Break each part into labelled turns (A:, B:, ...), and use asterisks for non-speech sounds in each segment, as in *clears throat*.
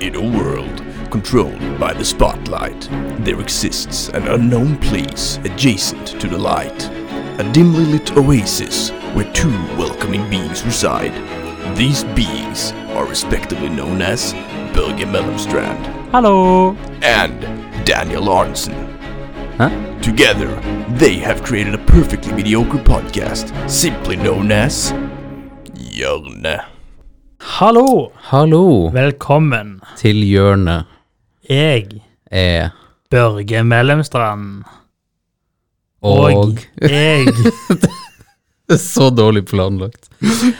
A: In a world controlled by the spotlight, there exists an unknown place adjacent to the light. A dimly lit oasis where two welcoming beings reside. These beings are respectively known as Børge Mellemstrand
B: Hallo!
A: and Daniel Arnson.
B: Hæ?
A: Together, they have created a perfectly mediocre podcast, simply known as Hjørne.
C: Hallo,
B: Hallo
C: velkommen.
B: til hjørnet
C: Jeg,
B: er
C: Børge Mellemstrand,
B: og
C: jeg,
B: Så dårlig planlagt.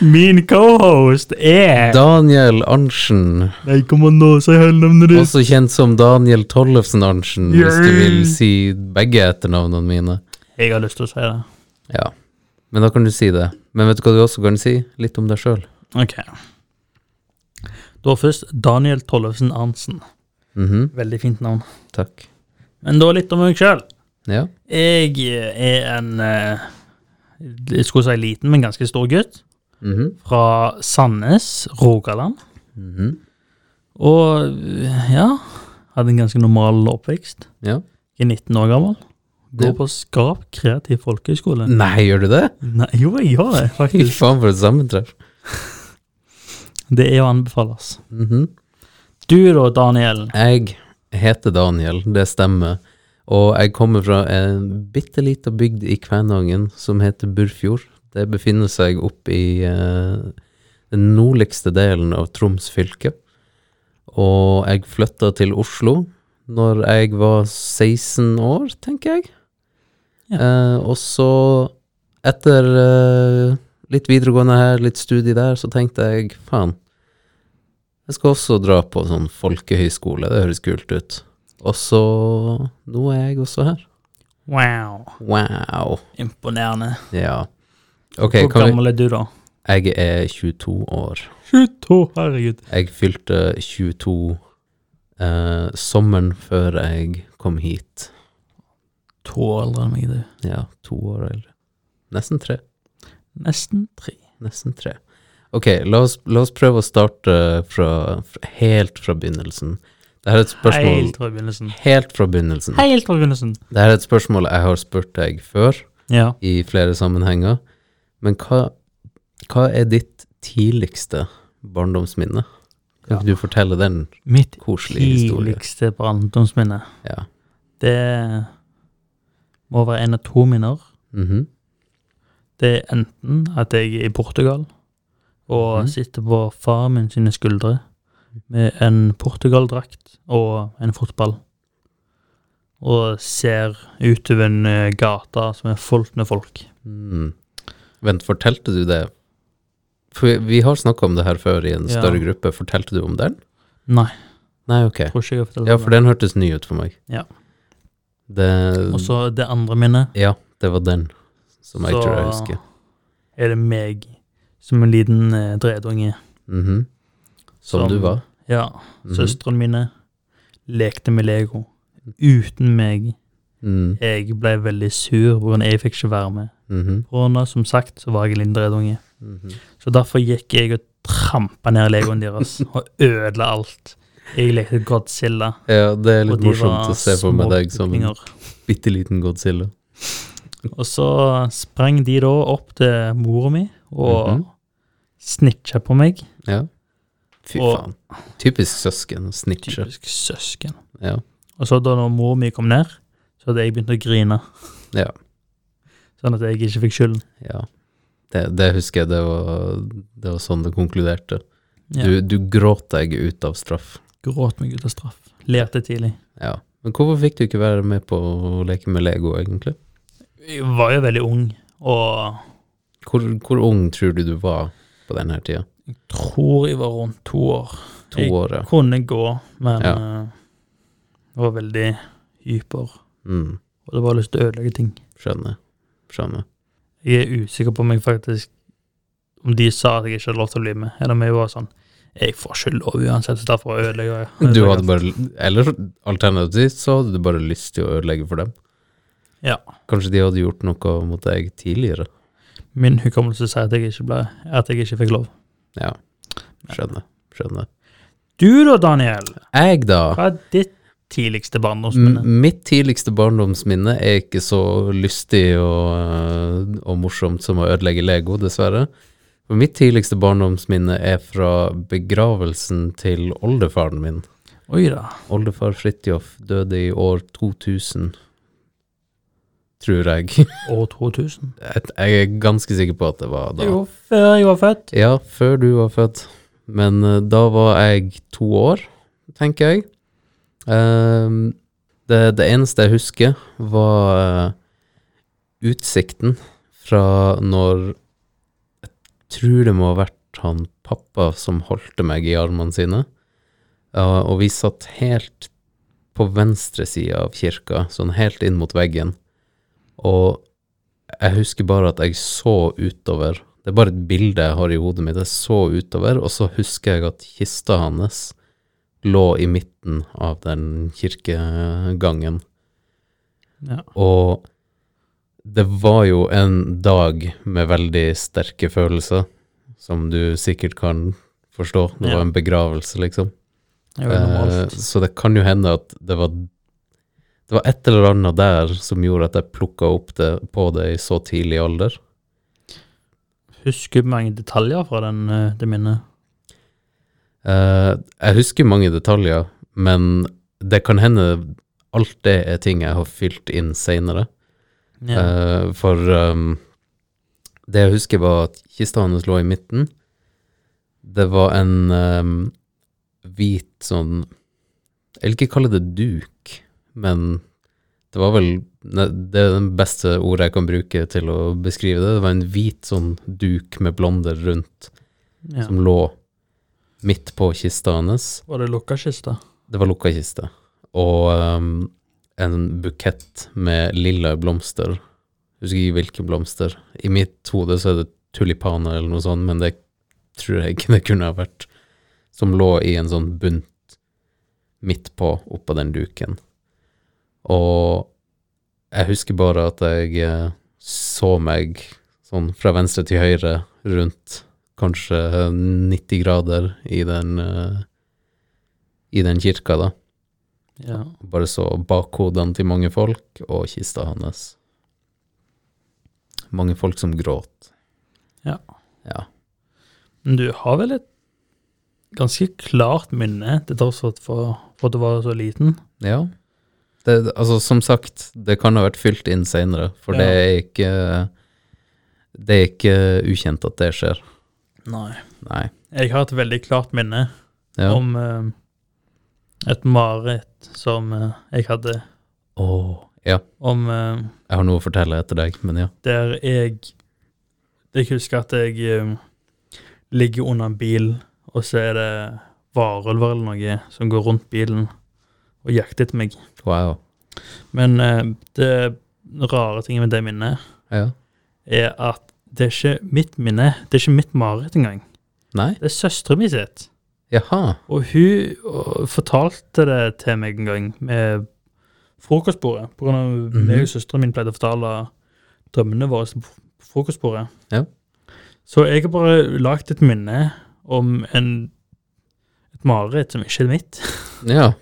C: min cohost,
B: *laughs*
C: er
B: Daniel Arntzen,
C: Jeg kommer nå, si hele navnet ditt.
B: også kjent som Daniel Tollefsen Arntzen, hvis du
C: Yay.
B: vil si begge etternavnene mine.
C: Jeg har lyst til å si det.
B: Ja, men da kan du si det. Men vet du hva du også kan si? Litt om deg sjøl.
C: Ok. Da først Daniel Tollefsen Arntzen. Veldig fint navn.
B: Mhm, Takk.
C: Men da litt om meg sjøl.
B: Ja.
C: Jeg er en eh, Jeg skulle si liten, men ganske stor gutt.
B: Mhm.
C: Fra Sandnes, Rogaland.
B: Mhm.
C: Og ja, hadde en ganske normal oppvekst.
B: ja.
C: I 19 år gammel. Går
B: Ja. Mm.
C: på Skap kreativ folkehøgskole.
B: Nei, gjør du det?
C: Nei, jo, jeg gjør det,
B: Fy
C: faktisk.
B: faen, for et sammentreff.
C: Det er å anbefales.
B: Mhm.
C: Du da, Daniel.
B: Jeg heter Daniel, det stemmer. Og jeg kommer fra en bitte lita bygd i Kvænangen som heter Burfjord. Det befinner seg oppe i eh, den nordligste delen av Troms fylke. Og jeg flytta til Oslo når jeg var 16 år, tenker jeg. Eh, og så, etter eh, litt videregående her, litt studie der, så tenkte jeg faen, jeg skal også dra på sånn folkehøyskole, det høres kult ut. Og så Nå er jeg også her.
C: Wow.
B: Wow.
C: Imponerende.
B: Ja. Ok,
C: Hvor
B: kan vi,
C: gammel er du, da?
B: jeg er 22 år.
C: 22, herregud.
B: Jeg fylte 22 eh, sommeren før jeg kom hit.
C: To år eldre enn meg, du.
B: Ja, to år eller Nesten tre.
C: Nesten tre.
B: Nesten tre. Ok, la oss, la oss prøve å starte fra, fra, helt fra begynnelsen. Dette er et spørsmål
C: Helt fra begynnelsen.
B: helt fra begynnelsen.
C: Helt fra begynnelsen.
B: Dette er et spørsmål jeg har spurt deg før.
C: Ja.
B: i flere sammenhenger. Men hva, hva er ditt tidligste barndomsminne? Kan ikke du fortelle den
C: Mitt
B: koselige historien?
C: tidligste barndomsminne,
B: Ja.
C: det må være en av to minner.
B: Mhm.
C: Det er enten at jeg er i Portugal og
B: Mhm.
C: sitter på far min sine skuldre med en Portugal-drakt og en fotball. Og ser utover en eh, gata som er fullt med folk.
B: mm. Vent, fortalte du det? For vi, vi har snakka om det her før i en
C: Ja.
B: større gruppe. Fortalte du om den?
C: Nei,
B: Nei, ok.
C: tror ikke jeg har fortalt
B: Ja,
C: om
B: for den hørtes ny ut for meg.
C: Ja.
B: Det,
C: Og så det andre minnet,
B: ja, det var den som jeg
C: Så-
B: tror jeg husker.
C: er det meg som en liten eh, dredunge.
B: Mhm. Som,
C: Som-
B: du var?
C: Ja,
B: Mhm.
C: søstrene mine lekte med Lego uten meg.
B: Mm.
C: Jeg ble veldig sur pga. jeg fikk ikke være med.
B: Mhm.
C: Pga. som sagt, så var jeg en liten dredunge.
B: Mhm.
C: Så derfor gikk jeg og trampa ned legoen
B: *laughs*
C: deres og ødela alt. Jeg lekte Godzilla.
B: Ja, det er litt
C: og de
B: morsomt
C: var
B: å se for meg deg som en
C: småbygninger.
B: bitte liten Godzilla.
C: Og så sprang de da opp til mora mi og
B: Mhm.
C: snitcha på meg.
B: Ja. Fy
C: Og-
B: faen. Typisk søsken å snitche.
C: Typisk søsken.
B: Ja.
C: Og så da når mora mi kom ned, så hadde jeg begynt å grine.
B: Ja.
C: Sånn at jeg ikke fikk skylden.
B: ja. Det, det husker jeg, det var, det var sånn det konkluderte.
C: Ja.
B: Du, du gråt deg ut av straff.
C: Gråt meg ut av straff. Lærte tidlig.
B: Ja. Men hvorfor fikk du ikke være med på å leke med Lego, egentlig?
C: Jeg var jo veldig ung, og
B: Hvor, hvor ung tror du du var på denne tida?
C: tror jeg var rundt to år.
B: To
C: Jeg-
B: år, ja.
C: kunne gå, men
B: Ja.
C: eh, jeg var veldig hyper.
B: Mm.
C: Og det var lyst til å ødelegge ting.
B: Skjønner. Skjønner.
C: Jeg er usikker på om jeg faktisk Om de sa at jeg ikke hadde lov til å bli med, eller om jeg var sånn Jeg får ikke lov uansett, så derfor ødelegger jeg.
B: Du hadde bare, eller alternativt så hadde du bare lyst til å ødelegge for dem.
C: Ja.
B: Kanskje de hadde gjort noe mot deg tidligere.
C: Min hukommelse sier at jeg ikke ble At jeg ikke fikk lov.
B: Ja, skjønner. Skjønner.
C: Du da, Daniel?
B: Jeg, da.
C: Hva er ditt tidligste
B: M
C: barndomsminne?
B: mitt tidligste barndomsminne er ikke så lystig og, øh, og morsomt som å ødelegge Lego, dessverre. For mitt tidligste barndomsminne er fra begravelsen til oldefaren min.
C: Oi da.
B: Oldefar Fridtjof døde i år 2000, tror jeg. *laughs*
C: År 2000?
B: Jeg jeg er ganske sikker på at det var da.
C: Jo, før jeg var født.
B: Ja, før du var født. Men eh, da var jeg to år, tenker jeg. Ehm, det, det eneste jeg husker, var eh, utsikten fra når Jeg tror det må ha vært han pappa som holdte meg i armene sine. Ja, og vi satt helt på venstre side av kirka, sånn helt inn mot veggen. Og jeg husker bare at jeg så utover. Det er bare et bilde jeg har i hodet mitt. Jeg så utover, og så husker jeg at kista hans lå i midten av den kirkegangen.
C: Ja.
B: Og det var jo en dag med veldig sterke følelser, som du sikkert kan forstå. Det
C: Ja.
B: var en begravelse, liksom.
C: Det er jo normalt.
B: Eh, Så det kan jo hende at det var Det var et eller annet der som gjorde at jeg plukka opp det på det i så tidlig alder.
C: Husker du mange detaljer fra den, eh, det minnet?
B: Eh, jeg husker mange detaljer, men det kan hende alt det er ting jeg har fylt inn seinere.
C: Ja.
B: Eh, for ehm, det jeg husker var at kista hans lå i midten. Det var en ehm, hvit sånn Jeg vil ikke kalle det duk, men det var vel ne, Det er det beste ordet jeg kan bruke til å beskrive det. Det var en hvit sånn duk med blonder rundt,
C: ja.
B: som lå midt på kista hans.
C: Var det lukka kiste?
B: Det var lukka kiste. Og ehm, en bukett med lilla blomster. Husker ikke hvilke blomster. I mitt hode så er det tulipaner eller noe sånt, men det tror jeg ikke det kunne ha vært. Som lå i en sånn bunt midt på, oppå den duken. Og jeg husker bare at jeg eh, så meg sånn fra venstre til høyre rundt kanskje 90 grader i den eh, i den kirka, da.
C: Ja.
B: Bare så bakhodene til mange folk og kista hans. Mange folk som gråt.
C: Ja.
B: Ja.
C: Men du har vel et ganske klart minne, til tross for at- for for at du var så liten?
B: ja. Det, altså, som sagt, det kan ha vært fylt inn seinere, for
C: Ja.
B: det er ikke Det er ikke ukjent at det skjer.
C: Nei.
B: Nei.
C: Jeg har et veldig klart minne
B: Ja.
C: om eh, et mareritt som eh, jeg hadde
B: Åh. ja.
C: om eh,
B: Jeg har noe å fortelle etter deg, men ja.
C: der jeg Jeg husker at jeg eh, ligger under en bil, og så er det varulver eller noe som går rundt bilen og jakter etter meg.
B: Wow.
C: Men eh, det rare tinget med det minnet
B: Ja.
C: er at det er ikke mitt minne, det er ikke mitt mareritt engang.
B: Nei?
C: Det er søsteren min sitt.
B: Jaha.
C: Og hun og, fortalte det til meg en gang med frokostbordet. På grunn av
B: Mhm.
C: meg og søsteren min pleide å fortale drømmene våre på frokostbordet.
B: Ja.
C: Så jeg har bare lagd et minne om en, et mareritt som ikke er mitt.
B: Ja.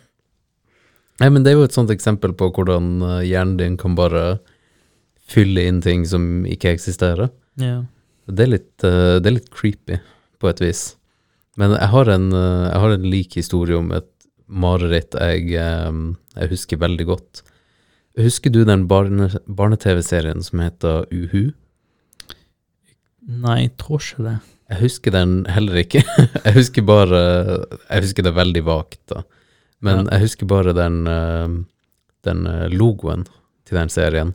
B: Nei, men det er jo et sånt eksempel på hvordan eh, hjernen din kan bare fylle inn ting som ikke eksisterer.
C: Ja.
B: Det er litt, eh, det er litt creepy, på et vis. Men jeg har en, eh, jeg har en lik historie om et mareritt jeg, eh, jeg husker veldig godt. Husker du den barne, barne-TV-serien som heter Uhu?
C: Nei, jeg tror ikke det.
B: Jeg husker den heller ikke. *laughs* Jeg husker bare Jeg husker det veldig vagt, da. Men
C: Ja.
B: jeg husker bare den, eh, den eh, logoen til den serien.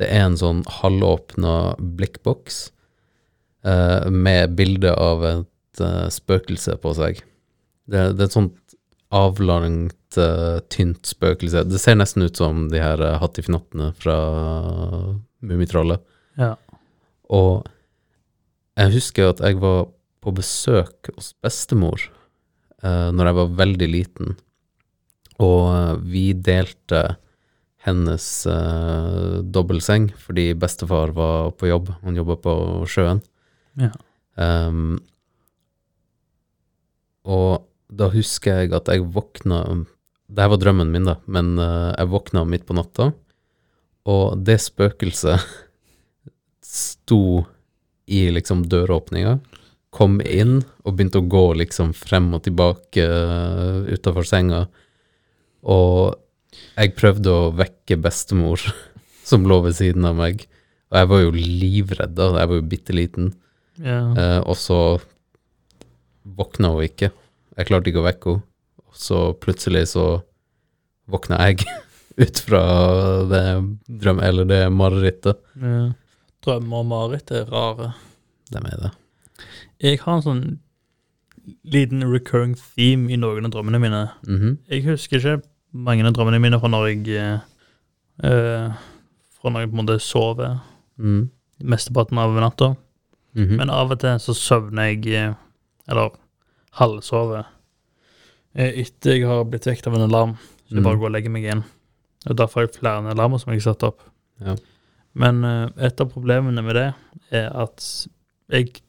B: Det er en sånn halvåpna blikkboks eh, med bilde av et eh, spøkelse på seg. Det, det er et sånt avlangt, eh, tynt spøkelse. Det ser nesten ut som de her eh, hattifnottene fra eh, Mummitrollet.
C: Ja.
B: Og jeg husker at jeg var på besøk hos bestemor uh, når jeg var veldig liten, og eh, vi delte hennes eh, dobbeltseng fordi bestefar var på jobb, han jobba på sjøen.
C: Ja.
B: Ehm, og Da husker jeg at jeg våkna Det her var drømmen min, da, men eh, jeg våkna midt på natta, og det spøkelset sto i liksom døråpninga, kom inn og begynte å gå liksom frem og tilbake utafor senga, og jeg prøvde å vekke bestemor, *laughs* som lå ved siden av meg, og jeg var jo livredd, da, jeg var jo bitte liten.
C: Ja.
B: Eh, og så våkna hun ikke. Jeg klarte ikke å vekke henne. Og så plutselig så våkna jeg *laughs* ut fra det drøm, eller det marerittet.
C: Ja.
D: Drømmer og mareritt er rare.
B: Dem er det.
C: Jeg har en sånn liten recurring theme i noen av drømmene mine.
B: Mhm.
C: Jeg husker ikke mange av drømmene mine fra når jeg eh, eh, Fra når jeg på en måte sover
B: mm.
C: mesteparten av natta.
B: Mhm.
C: Men av og til så søvner jeg eh, Eller halvsover eh, etter jeg har blitt vekt av en alarm. Så jeg
B: Mm.
C: bare går og legger meg igjen. Og derfor har jeg flere alarmer som jeg har satt opp.
B: Ja.
C: Men eh, et av problemene med det er at jeg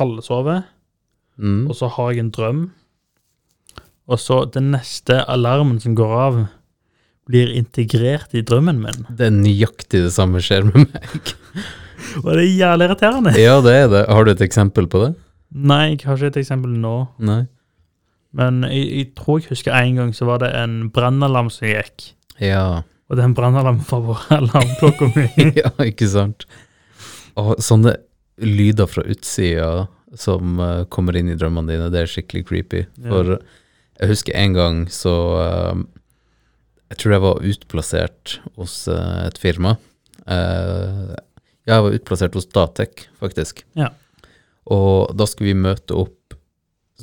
C: halvsover,
B: Mm.
C: og så har jeg en drøm. Og så den neste alarmen som går av, blir integrert i drømmen min.
B: Det er nøyaktig det samme skjer med meg. *laughs*
C: Og det er jævlig irriterende.
B: Ja, det er det. Har du et eksempel på det?
C: Nei, jeg har ikke et eksempel nå.
B: Nei.
C: Men jeg, jeg tror jeg husker en gang så var det en brannalarm som gikk.
B: Ja,
C: Og den brannalarmen var *laughs* bare alarmklokka mi.
B: *laughs*
C: *laughs*
B: ja ikke sant? Og sånne lyder fra utsida som eh, kommer inn i drømmene dine, det er skikkelig creepy.
C: Ja.
B: For jeg husker en gang så eh, Jeg tror jeg var utplassert hos eh, et firma. Eh, jeg var utplassert hos Datec, faktisk.
C: Ja.
B: Og da skulle vi møte opp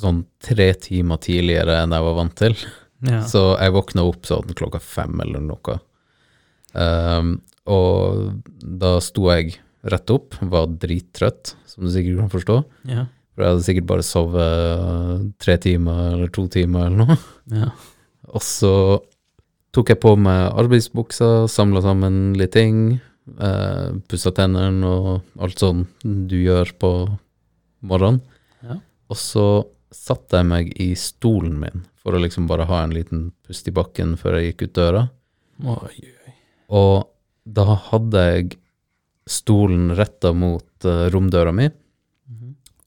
B: sånn tre timer tidligere enn jeg var vant til.
C: Ja.
B: Så jeg våkna opp sånn klokka fem eller noe. Ehm, og da sto jeg rett opp, var drittrøtt, som du sikkert kan forstå.
C: Ja.
B: For jeg hadde sikkert bare sovet tre timer eller to timer eller noe.
C: Ja.
B: Og så tok jeg på meg arbeidsbuksa, samla sammen litt ting, eh, pussa tennene og alt sånn du gjør på morgenen.
C: Ja.
B: Og så satte jeg meg i stolen min for å liksom bare ha en liten pust i bakken før jeg gikk ut døra.
D: Oi.
B: Og da hadde jeg stolen retta mot eh, romdøra mi,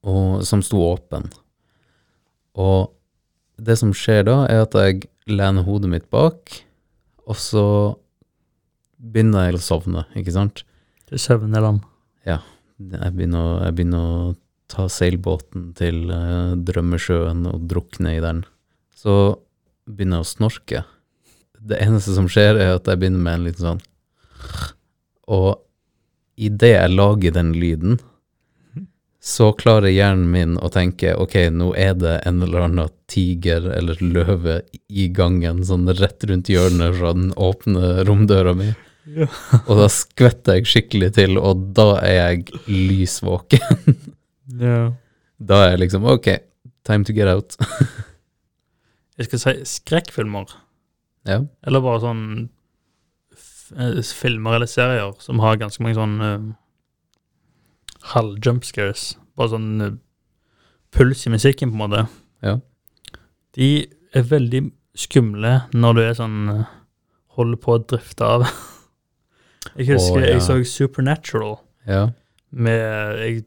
B: og, som sto åpen. Og det som skjer da, er at jeg lener hodet mitt bak, og så begynner jeg å sovne, ikke sant?
C: Det er søvnalarm.
B: Jeg begynner, å- jeg begynner å ta seilbåten til eh, drømmesjøen og drukne i den. Så begynner jeg å snorke. Det eneste som skjer, er at jeg begynner med en liten sånn Og idet jeg lager den lyden, så klarer hjernen min å tenke ok, nå er det en eller annen tiger eller løve i gangen, sånn rett rundt hjørnet fra den åpne romdøra mi.
C: Ja.
B: Og da skvetter jeg skikkelig til, og da er jeg lysvåken. *laughs*
C: Ja.
B: Da er jeg liksom OK, time to get out. *laughs*
C: Jeg skal si skrekkfilmer.
B: Ja.
C: Eller bare sånn f- eh, filmer eller serier som har ganske mange sånn uh, halv jumpscares. Bare sånn eh, puls i musikken, på en måte.
B: Ja.
C: De er veldig skumle når du er sånn eh, holder på å drifte av. *laughs* Jeg husker
B: Å, ja.
C: jeg så Supernatural
B: ja.
C: med Jeg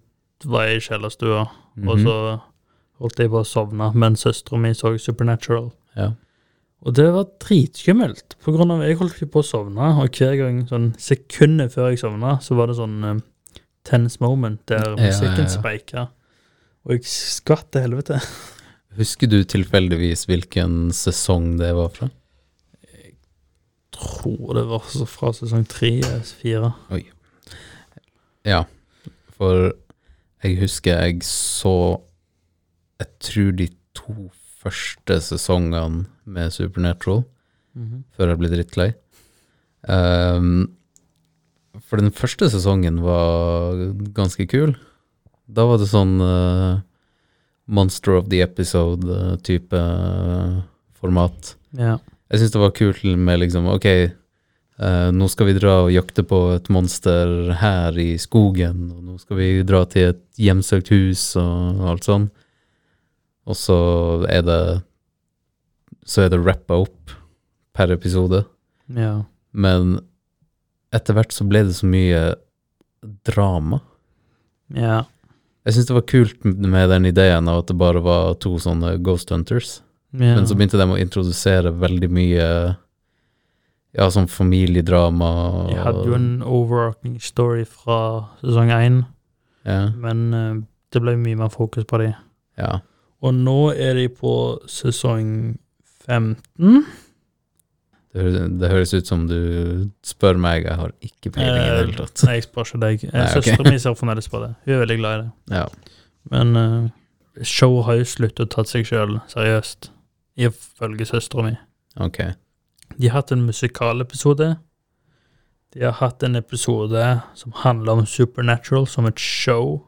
C: var i kjellerstua,
B: Mhm.
C: og så holdt jeg på å sovne, men søstera mi så Supernatural.
B: ja.
C: Og det var dritskummelt, på grunn av jeg holdt ikke på å sovne, og hver gang, sånn sekundet før jeg sovna, så var det sånn eh, tense moment der
B: Ja, ja, ja.
C: musikken speika, og jeg skvatt til helvete.
B: Husker du tilfeldigvis hvilken sesong det var fra?
C: Tror det var så fra sesong tre eller fire.
B: Ja, for jeg husker jeg så Jeg tror de to første sesongene med Supernatural før jeg ble drittlei. Ehm, for den første sesongen var ganske kul. Da var det sånn eh, Monster of the Episode-type format.
C: Ja.
B: Jeg syns det var kult med liksom Ok, eh, nå skal vi dra og jakte på et monster her i skogen, og nå skal vi dra til et hjemsøkt hus og alt sånn. Og så er det så er det rappa opp per episode.
C: Ja.
B: Men etter hvert så ble det så mye drama.
C: ja.
B: Jeg syns det var kult med den ideen av at det bare var to sånne ghost hunters.
C: ja.
B: Men så begynte de å introdusere veldig mye Ja, sånn familiedrama og
C: Jeg hadde jo en overarching story fra sesong én,
B: ja,
C: men eh, det ble mye mer fokus på de.
B: ja.
E: Og nå er de på sesong 15.
B: Det, høres, det høres ut som du spør meg, jeg har ikke peiling i det
C: Eh,
B: hele tatt.
C: Nei, jeg spør ikke deg. Eh,
B: Nei, ok.
C: Søsteren min ser fremdeles på det. Hun er veldig glad i det.
B: Ja.
C: Men eh, showet har jo sluttet å ta seg sjøl seriøst, ifølge søstera mi.
B: Ok.
C: De har hatt en musikalepisode. De har hatt en episode som handler om Supernatural som et show.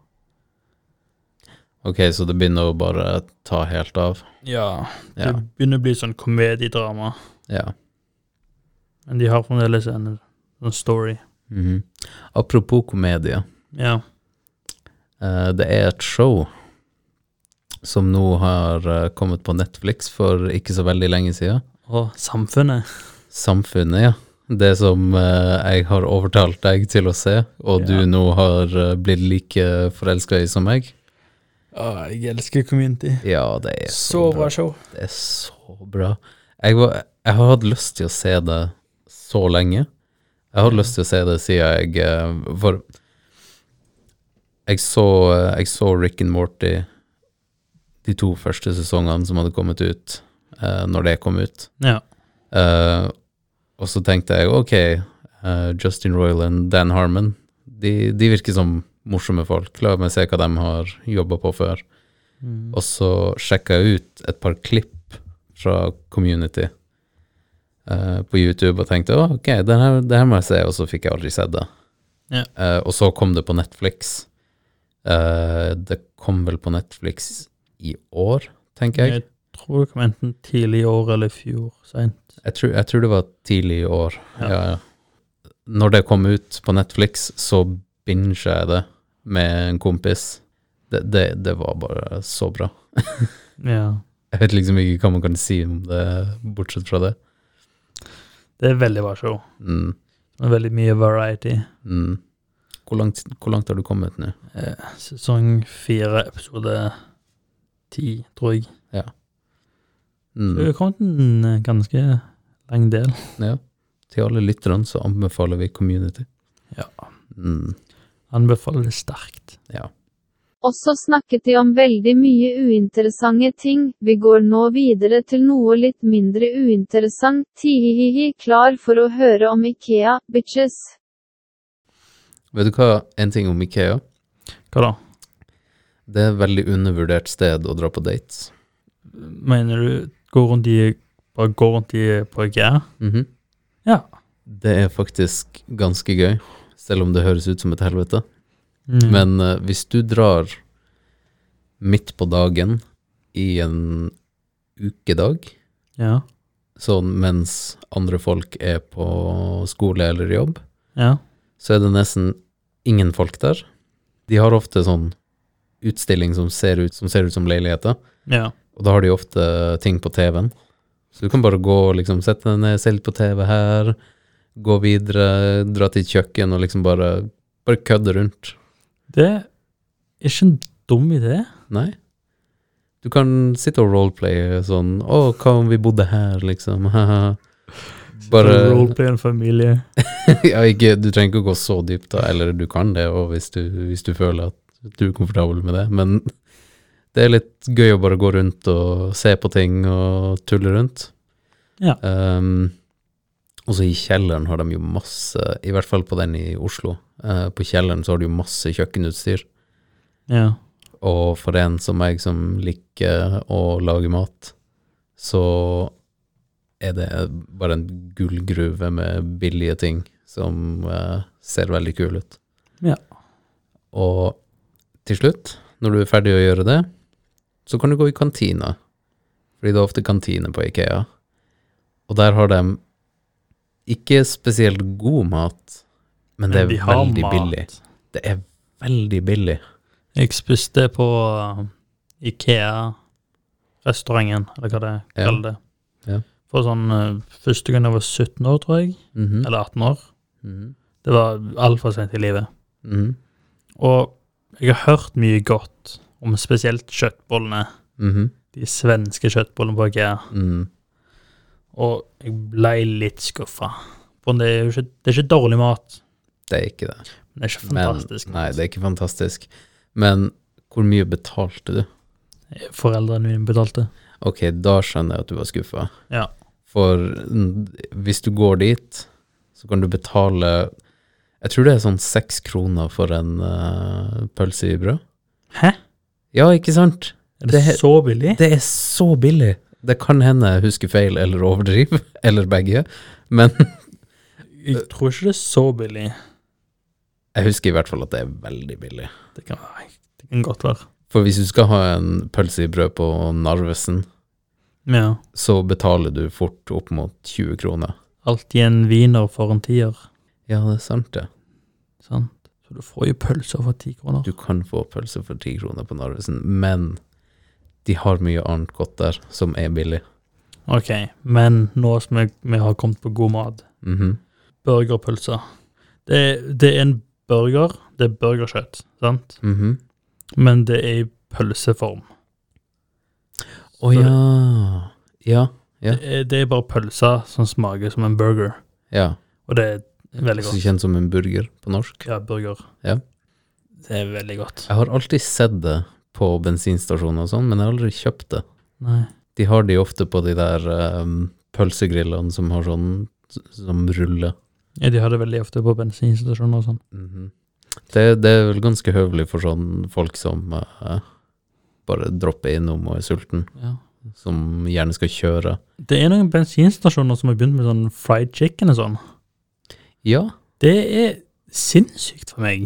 B: Ok, så det begynner å bare ta helt av.
C: Ja, det
B: Ja.
C: begynner å bli sånn komediedrama.
B: ja.
C: Men de har fremdeles en, en story.
B: Mhm. Apropos komedie.
C: Ja.
B: Eh, det er et show som nå har eh, kommet på Netflix for ikke så veldig lenge siden.
C: Og samfunnet.
B: Samfunnet, ja. Det som eh, jeg har overtalt deg til å se, og
C: Ja.
B: du nå har eh, blitt like forelska i som meg.
E: Ja, Ah, jeg elsker community.
B: Ja, det er så,
E: Så
B: bra.
E: bra show.
B: Det er så bra. Jeg, var, jeg har hatt lyst til å se det så lenge. Jeg har hatt lyst til å se det siden jeg eh, For jeg så, eh, jeg så Rick and Morty de to første sesongene som hadde kommet ut, eh, når det kom ut.
C: Ja.
B: Eh, og så tenkte jeg ok, eh, Justin Roiland, Dan Harmon, de, de virker som morsomme folk. La meg se hva de har jobba på før. Og så sjekka jeg ut et par klipp fra Community eh, på YouTube og tenkte å, ok, det her, det her må jeg se, og så fikk jeg aldri sett det.
C: Ja.
B: Eh, og så kom det på Netflix. Eh, det kom vel på Netflix i år, tenker jeg.
C: Jeg tror det kom enten tidlig i år eller i fjor. Sent.
B: Jeg tror, jeg tror det var tidlig i år.
C: Ja.
B: Ja. Ja, Når det kom ut på Netflix, så binget jeg det med en kompis. Det, det, det var bare så bra.
C: Ja.
B: Jeg vet liksom ikke hva man kan si om det, bortsett fra det.
C: Det er veldig bra show.
B: Mm,
C: Det er veldig mye variety.
B: mm. Hvor, langt, hvor langt har du kommet nå?
C: Eh, sesong fire, episode ti, tror jeg.
B: Mm.
C: Det har kommet en eh, ganske lang del.
B: Ja. Til alle lytterne så anbefaler vi Community.
C: Ja.
B: Mm.
C: Anbefaler det sterkt.
F: Også snakket de om veldig mye uinteressante ting, vi går nå videre til noe litt mindre uinteressant, tihihihi, klar for å høre om Ikea, bitches.
B: Vet du hva, en ting om Ikea.
C: Hva da?
B: Det er et veldig undervurdert sted å dra på dates.
C: Mener du gå rundt i bare gå rundt i på IKEA?
B: Mhm.
C: Ja.
B: Det er faktisk ganske gøy, selv om det høres ut som et helvete.
C: Mm.
B: Men eh, hvis du drar midt på dagen i en ukedag,
C: Ja.
B: sånn mens andre folk er på skole eller jobb,
C: Ja.
B: så er det nesten ingen folk der. De har ofte sånn utstilling som ser ut som, ser ut som leiligheter,
C: Ja.
B: og da har de ofte ting på TV-en. Så du kan bare gå og liksom sette deg ned, se litt på TV her, gå videre, dra til kjøkken og liksom bare, bare kødde rundt.
C: Det er ikke en dum idé.
B: Nei. Du kan sitte og roleplaye sånn Å, hva om vi bodde her, liksom? *laughs* Bare
C: Roleplay en familie.
B: *laughs* ja, ikke, Du trenger ikke å gå så dypt, da, eller du kan det og hvis, du, hvis du føler at du er komfortabel med det, men det er litt gøy å bare gå rundt og se på ting og tulle rundt.
C: Ja.
B: Ehm, og så i kjelleren har de jo masse, i hvert fall på den i Oslo, eh, på kjelleren så har de jo masse kjøkkenutstyr.
C: Ja.
B: Og for en som meg som liker å lage mat, så er det bare en gullgruve med billige ting som eh, ser veldig kul ut.
C: Ja.
B: Og til slutt, når du er ferdig å gjøre det, så kan du gå i kantina. Fordi det er ofte kantine på Ikea. Og der har de ikke spesielt god mat, men, det
C: Men
B: er
C: de har
B: veldig
C: mat.
B: billig. Det er veldig billig.
C: Jeg spiste på uh, IKEA-restauranten, eller hva det
B: Ja.
C: kaller det.
B: Ja.
C: For sånn eh, Første gang jeg var 17 år, tror jeg,
B: Mhm.
C: eller 18 år.
B: Mhm.
C: Det var altfor sent i livet.
B: Mhm.
C: Og jeg har hørt mye godt om spesielt kjøttbollene.
B: Mhm.
C: De svenske kjøttbollene på IKEA.
B: Mhm.
C: Og jeg ble litt skuffa. For det er jo ikke, det er ikke dårlig mat,
B: Det er ikke det.
C: men det er ikke
B: Men,
C: fantastisk. mat.
B: Nei, det er ikke fantastisk. Men hvor mye betalte du?
C: Foreldrene mine betalte.
B: Ok, da skjønner jeg at du var skuffa.
C: Ja.
B: For mm, hvis du går dit, så kan du betale Jeg tror det er sånn seks kroner for en eh, pølse i brød.
C: Hæ?
B: Ja, ikke sant?
C: Er det,
B: Det er-
C: så billig?
B: Det er så billig. Det kan hende jeg husker feil eller overdriver, *laughs* eller begge, men *laughs*
C: Jeg tror ikke det er så billig.
B: jeg husker i hvert fall at det er veldig billig.
C: Det kan, være- det kan godt være.
B: For hvis du skal ha en pølse i brød på Narvesen,
C: Ja.
B: så betaler du fort opp mot 20 kroner.
C: Alltid en wiener for en tier.
B: Ja, det er sant, det.
C: Sant? Så du får jo pølser for ti kroner.
B: Du kan få pølse for 10 kroner på Narvesen, men de har mye annet godt der som er billig.
C: Ok, men nå som jeg, vi har kommet på god mat
B: Mhm.
C: Burgerpølser. Det, er- det er en burger. Det er burgerkjøtt, sant?
B: Mhm.
C: Men det er i pølseform.
B: Å ja. Ja. Ja.
C: Det, er, det er bare pølser som smaker som en burger.
B: ja.
C: Og det er veldig
B: Så
C: godt.
B: kjent som en burger på norsk.
C: Ja, burger.
B: Ja.
C: Det er veldig godt.
B: Jeg har alltid sett det på bensinstasjoner og sånn, men jeg har aldri kjøpt det.
C: Nei.
B: De har de ofte på de der ehm, pølsegrillene som har sånn som ruller.
C: Ja, de har det veldig ofte på bensinstasjoner og sånn.
B: Mhm. det, det er vel ganske høvelig for sånn folk som eh, bare dropper innom og er sulten,
C: Ja.
B: som gjerne skal kjøre.
C: Det er noen bensinstasjoner som har begynt med sånn fried chicken og sånn.
B: Ja,
C: Det er sinnssykt for meg.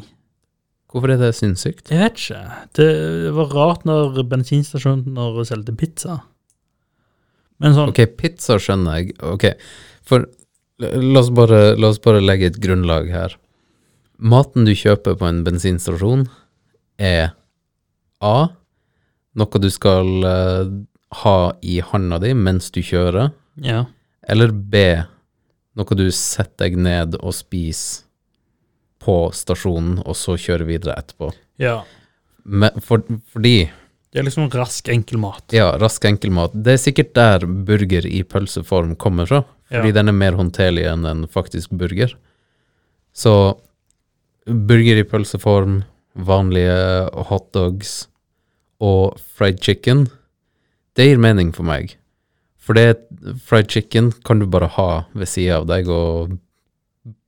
B: hvorfor er det sinnssykt?
C: Jeg vet ikke. Det var rart når bensinstasjoner solgte pizza. Men sånn
B: Ok, pizza skjønner jeg. Ok, for la la oss bare, la oss bare legge et grunnlag her. Maten du kjøper på en bensinstasjon er A, noe du skal eh, ha i handa di mens du kjører,
C: Ja.
B: eller B, noe du setter deg ned og spiser på stasjonen, og så kjører videre etterpå.
C: ja.
B: Men for, fordi
C: Det er liksom rask, enkel mat.
B: ja, rask enkelmat. Det er sikkert der burger i pølseform kommer fra, fordi
C: Ja.
B: den er mer håndterlig enn en faktisk burger. Så burger i pølseform, vanlige hotdogs og fried chicken, det gir mening for meg. For det fried chicken kan du bare ha ved sida av deg og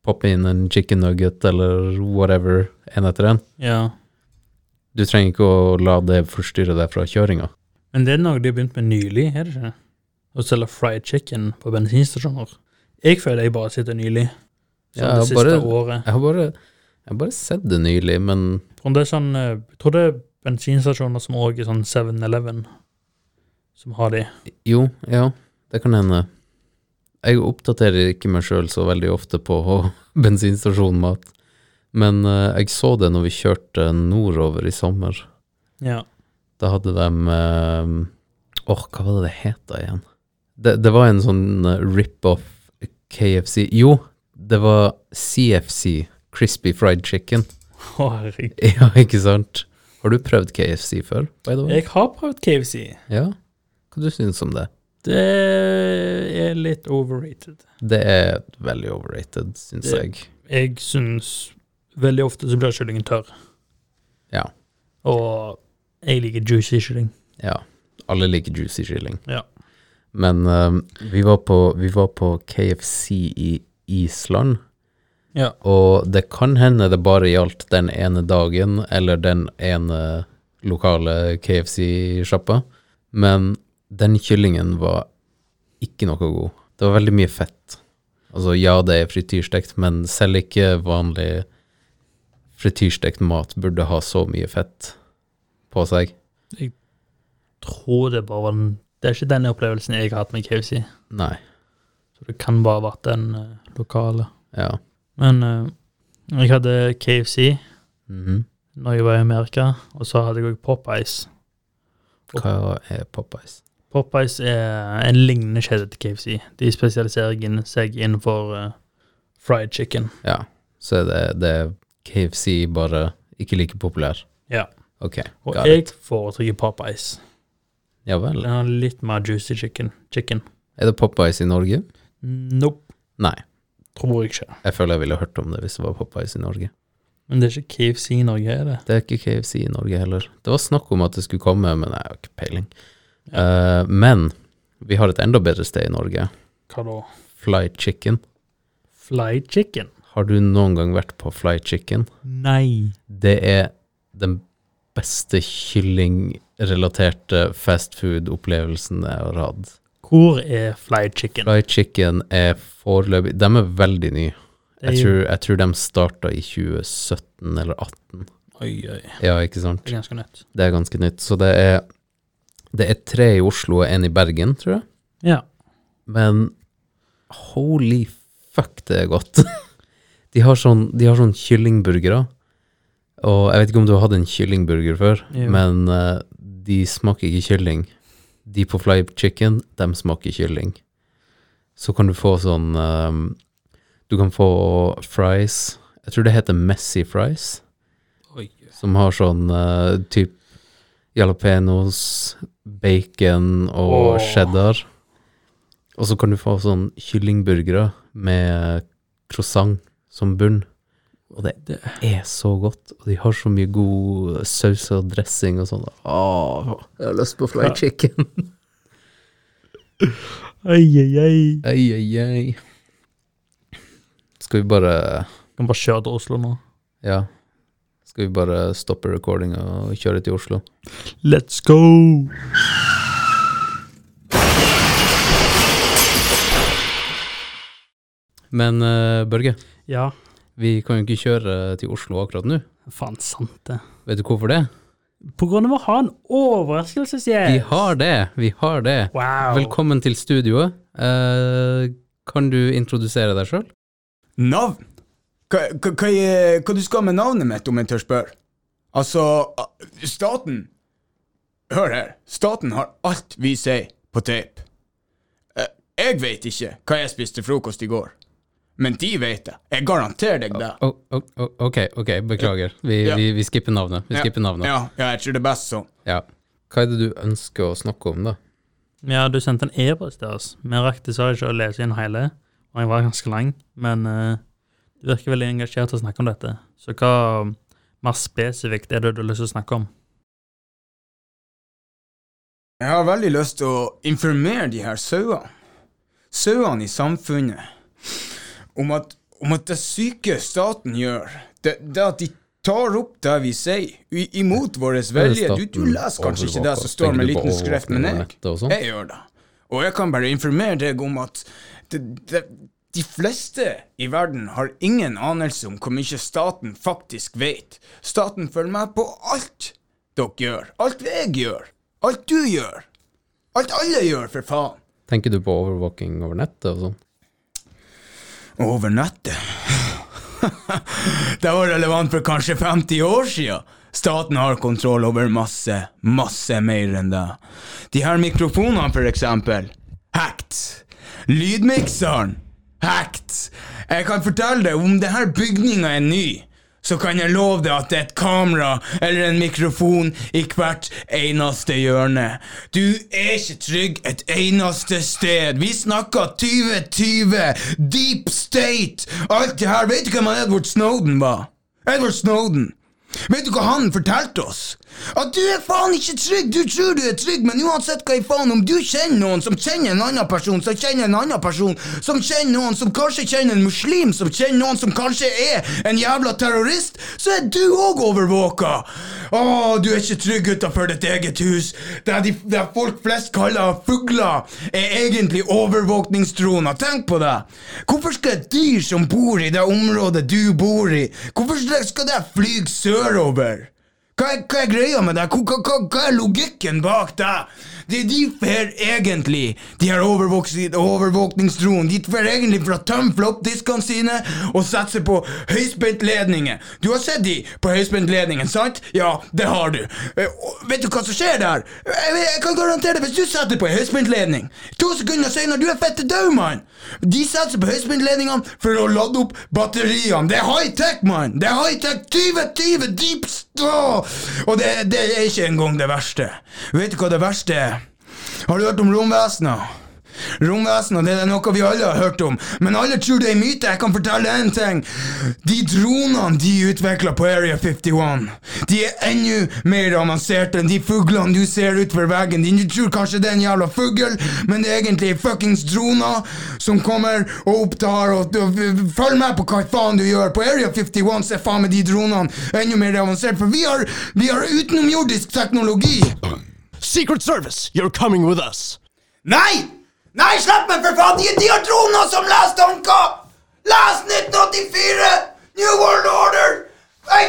B: poppe inn en chicken nugget eller whatever, en etter en.
C: Ja.
B: Du trenger ikke å la det forstyrre deg fra kjøringa.
C: Men det er noe de har begynt med nylig, er det ikke? Å selge fried chicken på bensinstasjoner. Jeg føler jeg bare sitter nylig. Sånn
B: Ja,
C: det siste
B: bare-
C: året.
B: Jeg har bare, jeg har bare sett det nylig, men
C: Tror det er sånn, eh, jeg tror det er bensinstasjoner som også er sånn 7-Eleven som har de.
B: jo, ja, det kan hende. Jeg oppdaterer ikke meg sjøl så veldig ofte på *laughs* bensinstasjonmat, men eh, jeg så det når vi kjørte nordover i sommer.
C: Ja.
B: Da hadde de eh, Åh, hva var det det het da igjen? Det, det var en sånn eh, rip-off KFC Jo, det var CFC, Crispy Fried Chicken. *laughs*
C: Å, herregud.
B: Ja, ikke sant? Har du prøvd KFC før, by the way?
C: Jeg har prøvd KFC.
B: Ja? Hva du syns om det?
C: Det er litt overrated.
B: Det er veldig overrated, syns
C: Det-
B: jeg.
C: Jeg syns veldig ofte så blir kyllingen tørr.
B: Ja.
C: Og jeg liker juicy kylling.
B: Ja. Alle liker juicy kylling.
C: Ja.
B: Men eh, vi, var på, vi var på KFC i Island,
C: Ja.
B: og det kan hende det bare gjaldt den ene dagen eller den ene lokale KFC-sjappa, men den kyllingen var ikke noe god. Det var veldig mye fett. Altså, ja, det er frityrstekt, men selv ikke vanlig frityrstekt mat burde ha så mye fett på seg.
C: Tror det bare var den Det er ikke den opplevelsen jeg har hatt med KFC.
B: Nei.
C: Så det kan bare ha vært den eh, lokale.
B: Ja.
C: Men eh, jeg hadde KFC
B: Mhm.
C: når jeg var i Amerika, og så hadde jeg òg Popeyes.
B: Hva er Popeyes?
G: Popeyes er en lignende kjede til KFC. De spesialiserer inn- seg innenfor eh, fried chicken.
B: Ja. Så er det, det er KFC bare ikke like populær.
G: Ja.
B: Ok.
G: Og
B: got
G: jeg
B: it.
G: foretrekker Popeyes.
B: Ja vel.
G: Den har litt mer juicy chicken. chicken.
B: Er det Popeyes i Norge?
G: Mm, Nope,
B: Nei.
G: tror jeg ikke.
B: Jeg føler jeg ville hørt om det hvis det var Popeyes i Norge.
G: Men det er ikke KFC i Norge, er det?
B: Det er ikke KFC i Norge heller. Det var snakk om at det skulle komme, men jeg har ikke peiling. Eh, men vi har et enda bedre sted i Norge.
G: Hva da?
B: Fly Chicken.
G: Fried chicken?
B: Har du noen gang vært på Fly Chicken?
G: Nei.
B: Det er den beste kyllingrelaterte fastfood-opplevelsen jeg har hatt.
G: Hvor er fried chicken?
B: Fly Chicken er foreløpig De er veldig nye.
G: Det er
B: Jeg
G: jo-
B: tror, jeg tror de starta i 2017 eller 2018.
G: Oi, oi.
B: Ja, ikke sant?
G: Det er ganske nytt.
B: Det er ganske nytt. Så det er, det er tre i Oslo og én i Bergen, tror jeg.
G: Ja.
B: Men holy fuck, det er godt. *laughs* De har sånn, de har sånn kyllingburgere. Og jeg vet ikke om du har hatt en kyllingburger før,
G: Jo.
B: men eh, de smaker ikke kylling. De på Fly Chicken, de smaker kylling. Så kan du få sånn eh, Du kan få fries. Jeg tror det heter Messy fries
C: Oi.
B: som har sånn uh, typ jalapenos, bacon og
G: Åh.
B: cheddar. Og så kan du få sånn kyllingburgere med croissant som bunn. Og det, er så godt. Og de har så mye god saus og dressing og sånn. Åh, jeg har lyst på fried chicken.
G: Oi, oi, oi.
B: Ei, ei, ei. Skal vi bare
G: Kan bare kjøre til Oslo nå.
B: Ja. Skal vi bare stoppe recordinga og kjøre til Oslo?
G: Let's go!
B: Men eh, Børge,
G: Ja,
B: Vi kan jo ikke kjøre til Oslo akkurat nå.
G: faen sant det.
B: Vet du hvorfor det?
G: På grunn av å ha en overraskelse, sier
B: Vi
G: jeg.
B: har det! Vi har det.
G: Wow.
B: Velkommen til studioet. Eh, kan du introdusere deg sjøl?
H: Navn? Hva, hva, hva, er- hva du skal med navnet mitt, om jeg tør spørre? Altså, a- staten Hør her, staten har alt vi sier, på tape. Eh, Jeg vet ikke hva jeg spiste frokost i går, men de vet det. Jeg garanterer deg det.
B: Oh, oh, oh, ok, ok, beklager. Vi,
H: Ja.
B: vi, vi skipper navnet. Vi skipper navnet.
H: Ja, ja, jeg tror det er best sånn.
B: Ja. Hva er det du ønsker å snakke om, da?
G: Ja, du sendte en e-post til oss. Vi rakk dessverre ikke å lese inn hele, og den var ganske lang, men eh, du virker veldig engasjert til å snakke om dette. Så hva mer spesifikt er det du har lyst til å snakke om?
H: Jeg har veldig lyst til å informere de her sauene, sauene i samfunnet, om at, om at det syke staten gjør, det, det at de tar opp det vi sier, i- imot vår vilje. Du, du leser kanskje ikke det som står med liten skrift, men jeg,
B: jeg
H: jeg gjør det. Og jeg kan bare informere deg om at det, det, de fleste i verden har ingen anelse om hvor mye staten faktisk vet. Staten følger med på alt dere gjør. Alt jeg gjør. Alt du gjør. Alt alle gjør, for faen.
B: Tenker du på overvåking over nettet og sånn?
H: Og over nettet. det var relevant for kanskje 50 år siden. Staten har kontroll over masse, masse mer enn det. De her mikrofonene, for eksempel. Hacked. Lydmikseren. Hacked. Jeg kan fortelle deg, om denne bygninga er ny, så kan jeg love deg at det er et kamera eller en mikrofon i hvert eneste hjørne. Du er ikke trygg et eneste sted. Vi snakker 2020, deep state, alt det her. Vet du hvem han Edward Snowden var? Edward Snowden. Vet du hva han fortalte oss? At du er faen ikke trygg! Du tror du er trygg, men uansett hva i faen, om du kjenner noen som kjenner en annen person, som kjenner en annen person, som kjenner noen som kanskje kjenner en muslim, som kjenner noen som kanskje er en jævla terrorist, så er du òg overvåka! Å, du er ikke trygg utafor ditt eget hus. Det, de, det folk flest kaller fugler, er egentlig overvåkningsdroner. Tenk på det! Hvorfor skal et dyr som bor i det området du bor i, hvorfor skal det fly sørover? Hva er, hva er greia med deg? Hva, hva- hva, hva er logikken bak deg? Det er de fer egentlig, de her overvåks- overvåkningsdroen, de fer egentlig for å tømme floppdiskene sine og sette seg på høyspentledninger. Du har sett de på høyspentledningen, sant? Ja, det har du. Eh, og Vet du hva som skjer der? Eh, Jeg, jeg kan garantere det, hvis du setter deg på en høyspentledning, to sekunder senere, du er fette død, mann! De setter seg på høyspentledningene for å lade opp batteriene. Det er high-tech, mann! Det er high-tech 2020 deep straw! Og det, det er ikke engang det verste. Vet du hva det verste er? Har du hørt om romvesener? Romvesener det er noe vi alle har hørt om, men alle tror det er myte. Jeg kan fortelle én ting. De dronene de utvikla på Area 51, de er enda mer avanserte enn de fuglene du ser utfor veggen din. Du tror kanskje det er en jævla fugl, men det er egentlig fuckings droner som kommer og opptar og, og, Følg med på hva faen du gjør. På Area 51 så er faen meg de dronene enda mer avanserte, for vi har, vi har utenomjordisk teknologi.
I: Secret Service, you're coming with us.
H: Nei! Nei, slipp meg, for faen! De, de har droner som leste anka! Les 1984! New World Order! Nei,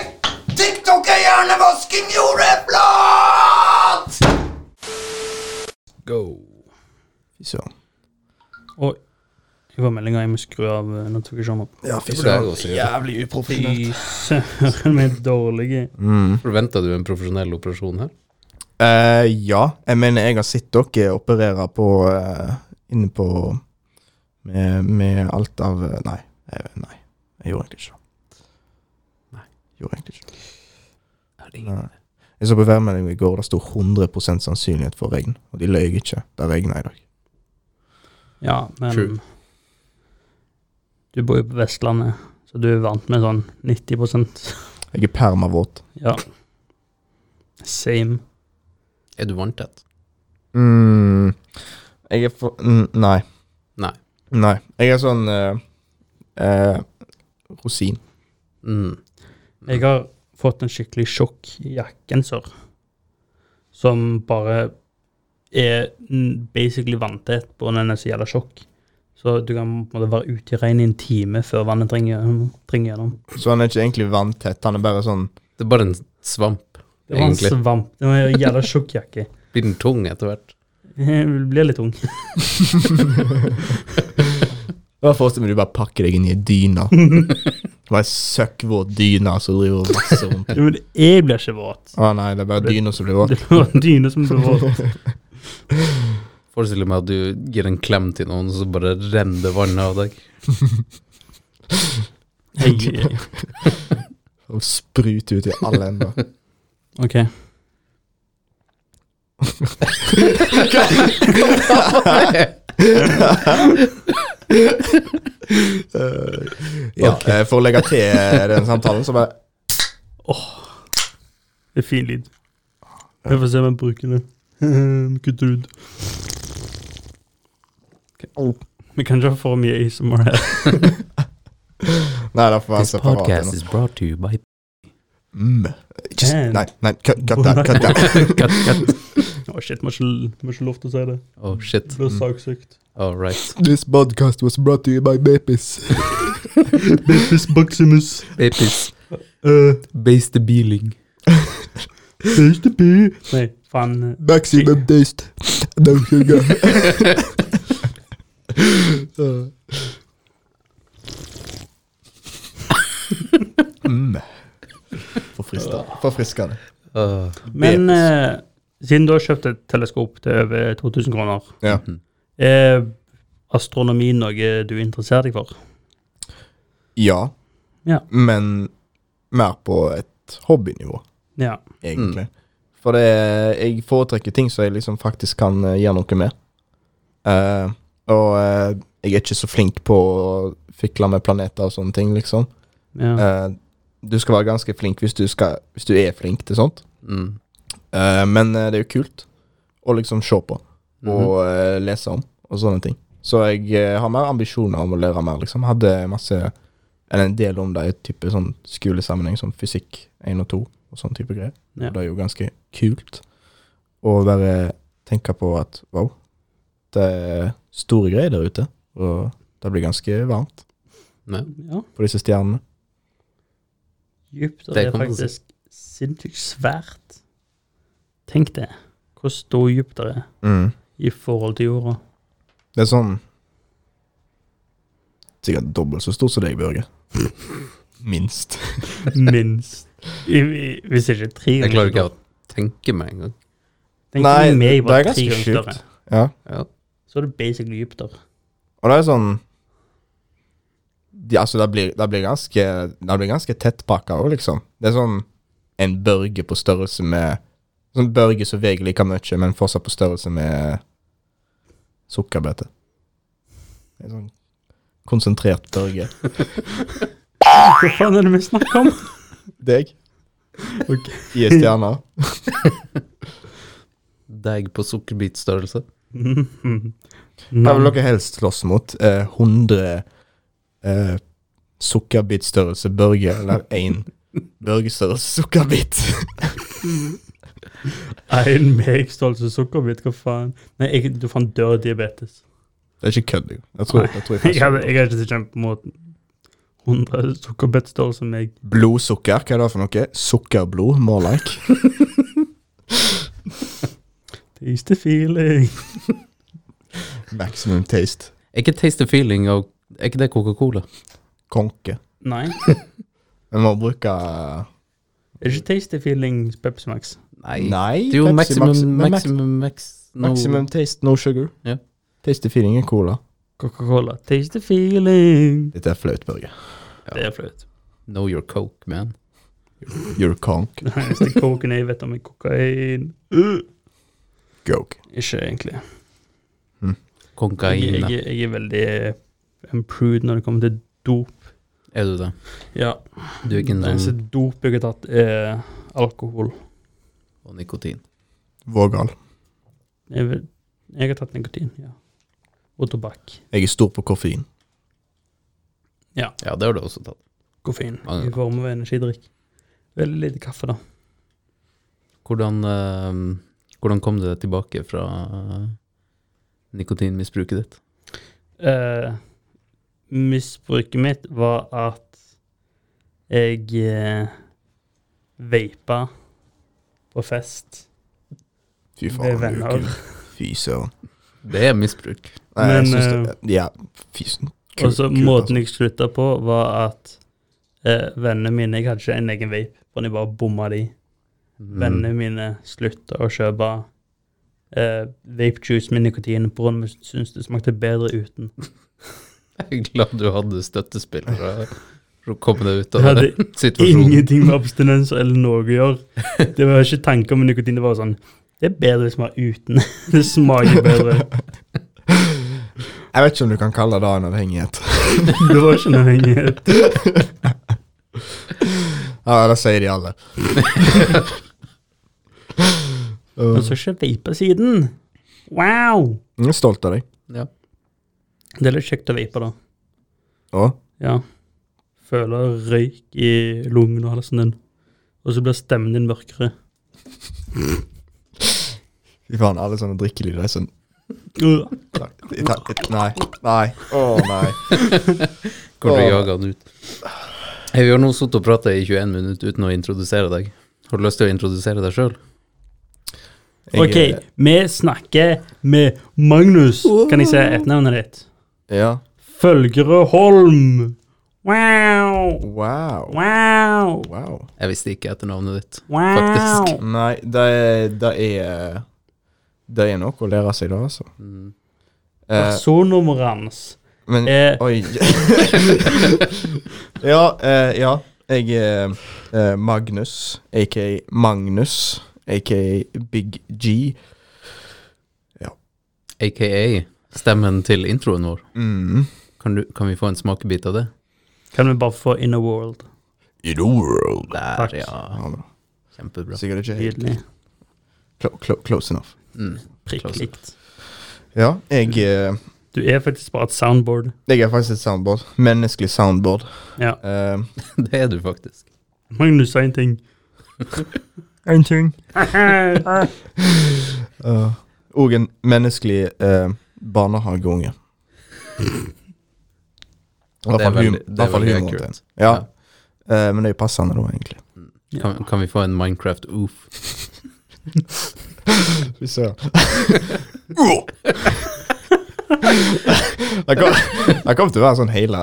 H: TikTok er hjernevasking, jordeflat!
J: Go.
K: Fy søren.
C: Oi. Jeg får melding om jeg må skru av eh, notifikasjoner.
K: Ja, fy
B: Det burde jeg også gjøre.
K: Jævlig uprofesjonelt.
C: Fy søren, vi er dårlige.
B: Forventa du en profesjonell operasjon her?
K: Eh, ja, jeg mener jeg har sett dere operere på eh, Inne på med, med alt av eh, Nei. Jeg, nei, jeg gjorde egentlig ikke det.
B: Nei.
K: Gjorde egentlig ikke det.
B: Er det ingen?
K: Nei. Jeg så på værmeldingen i går, det sto 100 sannsynlighet for regn. Og de løy ikke. Det regna i dag.
C: Ja, men
B: True.
C: Du bor jo på Vestlandet, så du er vant med sånn 90
K: Jeg er permavåt.
C: Ja. Same.
B: Er du vanntett?
K: Mm, jeg er for mm, Nei.
B: Nei.
K: Nei. Jeg er sånn eh, eh, rosin.
B: Mm.
C: Jeg har fått en skikkelig sjokk i jakkenser, som bare er mm, basically vanntett på den er så jævla sjokk. Så du kan på en måte være ute i regnet i en time før vannet trenger trenger gjennom.
K: Så han er ikke egentlig vanntett, han er bare sånn
B: Det er bare en svamp,
C: Det var en
B: egentlig.
C: svamp. Det var en jævla sjokk jakke.
B: Blir den tung etter hvert?
C: Jeg blir litt ung.
K: Da forestiller jeg meg du bare pakker deg inn i en dyne. *laughs* Bare søkkvåt dyne som driver masse rundt.
C: Jo, Men jeg blir ikke våt.
K: *laughs* Å nei, det er bare dyna som blir våt.
C: Det var en dyne som ble våt.
B: Forestill meg at du gir en klem til noen, og så bare renner det vann av deg.
C: Jeg,
K: *laughs* Og spruter ut i alle ender.
C: ok.
K: *laughs* Ja, eh, For å legge til eh, den samtalen, så *laughs* bare
C: Det er fin lyd. Vi får se om jeg bruker *laughs* det. Kutter ut. Ok. Vi kan ikke ha for mye ASMR her. *laughs*
K: Nei, det får være
B: This
K: separat.
B: podcast
K: ender.
B: is brought to you *laughs* by
K: Mm. Just,
C: Damn.
K: nei, nei, cut cut that. Cut that.
B: Cut, cut.
C: Å shit, må ikke, må ikke lov til å si det.
B: Oh, shit.
C: Det blir saksøkt.
B: All right.
K: This podcast was brought to you by *laughs* Bepis.
C: Bepis Maximus.
B: Babies.
K: uh,
B: Base the beeling.
C: Nei, faen.
K: Maximum taste. No *laughs* sugar. mm. Forfriskende. Forfriskende.
B: Uh,
C: Men eh, siden du har kjøpt et teleskop til over 2000 kroner,
K: Ja.
C: er astronomi noe du interesserer deg for?
K: ja.
C: Ja.
K: Men mer på et hobbynivå,
C: Ja.
K: egentlig. Mm. For det, jeg foretrekker ting som jeg liksom faktisk kan eh, gjøre noe med. Eh, og eh, jeg er ikke så flink på å fikle med planeter og sånne ting, liksom.
C: ja.
K: Eh, du skal være ganske flink hvis du, skal, hvis du er flink til sånt.
B: mm.
K: Eh, men eh, det er jo kult å liksom se på og eh, lese om og sånne ting. Så jeg eh, har mer ambisjoner om å lære mer, liksom. Hadde masse eller en del om det i type sånn skolesammenheng som fysikk 1 og 2 og sånn type greier.
C: Ja.
K: Og det er jo ganske kult å bare tenke på at wow, det er store greier der ute. Og det blir ganske varmt
B: Nei.
C: ja.
K: på disse stjernene.
C: Jupiter
B: Det
C: er
B: kan man si.
C: faktisk sinnssykt svært. Tenk det. Hvor stor dypt det er
K: Mm.
C: i forhold til jorda.
K: Det er sånn Sikkert dobbelt så stor som deg, Børge. Minst.
C: Minst. I, i, hvis ikke tre ganger.
B: Jeg klarer ikke å tenke meg engang.
C: Tenk
K: Nei,
C: om jeg var
K: det er
C: tre
K: ganske
C: ganger
K: sjukt.
C: større.
K: Ja.
B: Ja.
C: Så er det basically Jupiter. *laughs*
K: Og det er sånn de, Altså, det blir, det blir ganske Det blir ganske tettpakka òg, liksom. Det er sånn en børge på størrelse med Sånn børge som veier like mye, men fortsatt på størrelse med sukkerbete. En sånn konsentrert børge.
C: Hva faen er det vi *laughs* snakker om?
K: Deg. I ei stjerne.
B: Deg på sukkerbitstørrelse.
K: Hva vil dere helst slåss mot? Eh, 100 eh, sukkerbitstørrelse børge, eller én børgestørrelse sukkerbit? *laughs*
C: En megstolse sukkerbit, hva faen? Nei, jeg, du faen dør av diabetes.
K: Det er ikke kødd, jo. Jeg tror, jeg tror jeg
C: Jeg
K: faktisk-
C: hadde, jeg hadde ikke kjempet mot 100 sukkerbitstolser som meg.
K: Blodsukker, hva er det for noe? Sukkerblod, more like.
C: Taste the feeling.
K: Maximum taste.
B: Er ikke taste the feeling av Er ikke det Coca-Cola?
K: Konke.
C: Nei,
K: Vi må bruke
C: det er ikke taste the feeling Pepsi Max.
B: Nei.
K: Nei,
B: Det er jo
K: Pepsi
B: maximum,
K: Maxi- men Max-
B: maximum, max, no.
K: Maximum taste, no sugar.
B: Ja.
K: Tasty feeling er cola.
C: Coca-Cola. Taste the feeling.
K: Dette er flaut, Børge.
C: Det er *laughs* flaut.
B: Know your coke, man.
K: You're conk.
C: Det eneste koken jeg vet om, er kokain.
K: Goke.
C: Ikke egentlig. Jeg,
B: Konkaina.
C: jeg, jeg er veldig improved når det kommer til dop.
B: Er du det?
C: Ja.
B: Du er ikke en
C: Det eneste
B: sånn
C: dop jeg har tatt, er alkohol.
B: og nikotin.
K: Vågal.
C: Jeg, vil, jeg har tatt nikotin, ja. Og tobakk.
K: Jeg er stor på koffein.
B: Ja, det har du også tatt.
C: Koffein.
B: Ja, ja.
C: I form av energidrikk. Veldig lite kaffe, da.
B: Hvordan, eh, hvordan kom du deg tilbake fra eh, nikotinmisbruket ditt?
C: Eh, misbruket mitt var at jeg eh, vapa på fest
K: Fy
C: med
K: faen. du er
C: venner.
K: kul. Fy søren.
B: Det er misbruk.
K: Nei,
C: Men,
K: jeg syns det Ja, fy søren. Kul-
C: Og så
K: kult,
C: måten
K: altså.
C: jeg slutta på, var at eh, vennene mine Jeg hadde ikke en egen vape, for jeg bare bomma de.
K: Mm.
B: Mm.
C: Vennene mine slutta å kjøpe eh, vape juice med nikotin på grunn av at de syntes det smakte bedre uten.
B: Jeg er glad du hadde støttespillere for å komme deg ut av
C: Jeg hadde
B: den *laughs* situasjonen.
C: Ingenting
K: *laughs*
C: med abstinenser eller noe å gjøre. Det var ikke tanker om nikotin. Det var sånn Det er bedre hvis vi har uten. *laughs* Det smaker bedre.
K: Jeg vet ikke om du kan kalle det en avhengighet. *laughs*
C: Det var ikke noe hengighet.
K: Ja, det sier de alle.
C: Men så ikke vape siden. Wow!
K: Jeg er stolt av deg.
B: Ja.
C: Det er litt kjekt å vape, da.
K: Og
C: Ja. Føler røyk i lungen og halsen din. Og så blir stemmen din mørkere.
K: Fy faen, alle sånne drikkelyder er sånn
C: Øh.
K: Nei, nei. nei. Å, nei.
B: *laughs* Hvor du jager han ut. Hei, vi har nå sittet og prata i 21 minutter uten å introdusere deg. Har du lyst til å introdusere deg sjøl?
C: Ok,
K: Jeg-
C: vi snakker med Magnus. Kan jeg se etternavnet ditt?
K: Ja.
C: Følgere Holm. Wow!
K: Wow.
C: Wow!
K: Wow.
B: Jeg visste ikke etternavnet ditt,
C: Wow!
B: faktisk.
K: Nei, det er Det er, det er noe å lære seg, da, altså.
B: Mm.
K: Eh,
C: Personnummeret hans
K: men
B: Eh.
C: er
B: *laughs*
K: Oi. ja, eh, ja. Jeg er eh, Magnus, aka Magnus, aka Big G.
B: AKA stemmen til introen vår.
K: Mm.
B: Kan, du, kan vi få en smakebit av det?
C: Kan vi bare få Inner World?
A: In a world
B: Der,
C: Takk.
B: ja.
K: Ja, bra.
B: Kjempebra.
K: Sikkert ikke helt
C: Nydelig.
K: clo clo close enough.
B: Mm. *laughs*
C: Prikk
B: Close.
C: likt.
K: Ja, jeg, eh,
C: Du er faktisk bare et soundboard.
K: jeg er faktisk et soundboard. Menneskelig soundboard.
C: Ja.
K: Eh,
B: Det er du faktisk.
C: Magnus sa en
B: *laughs*
C: ting. *laughs*
K: En ting. uh, og en menneskelig eh, barnehageunge. I hvert
B: Det er
K: fall hum-
B: veldig- det
K: i
B: er
K: hvert fall
B: veldig
K: humoren til
B: accurate.
K: en. Ja. Eh, men det er jo passende, da, egentlig.
B: Kan, kan vi få en Minecraft-oof?
K: Fy søren. Det kom, det kom til å være sånn hele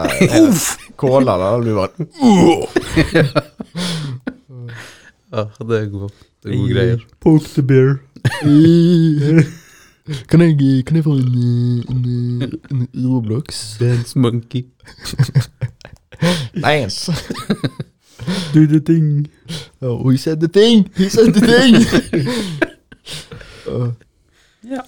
K: Kåla da, det blir bare
B: Ja, det er gode, det er gode greier.
C: Poke the bear.
K: Kan jeg, kan jeg få en, en, en Roblox?
B: Dance monkey. *laughs*
K: Nice.
C: Do the thing.
K: Oh, he said the thing! He said the
C: *laughs*
K: thing! Uh,
C: Ja.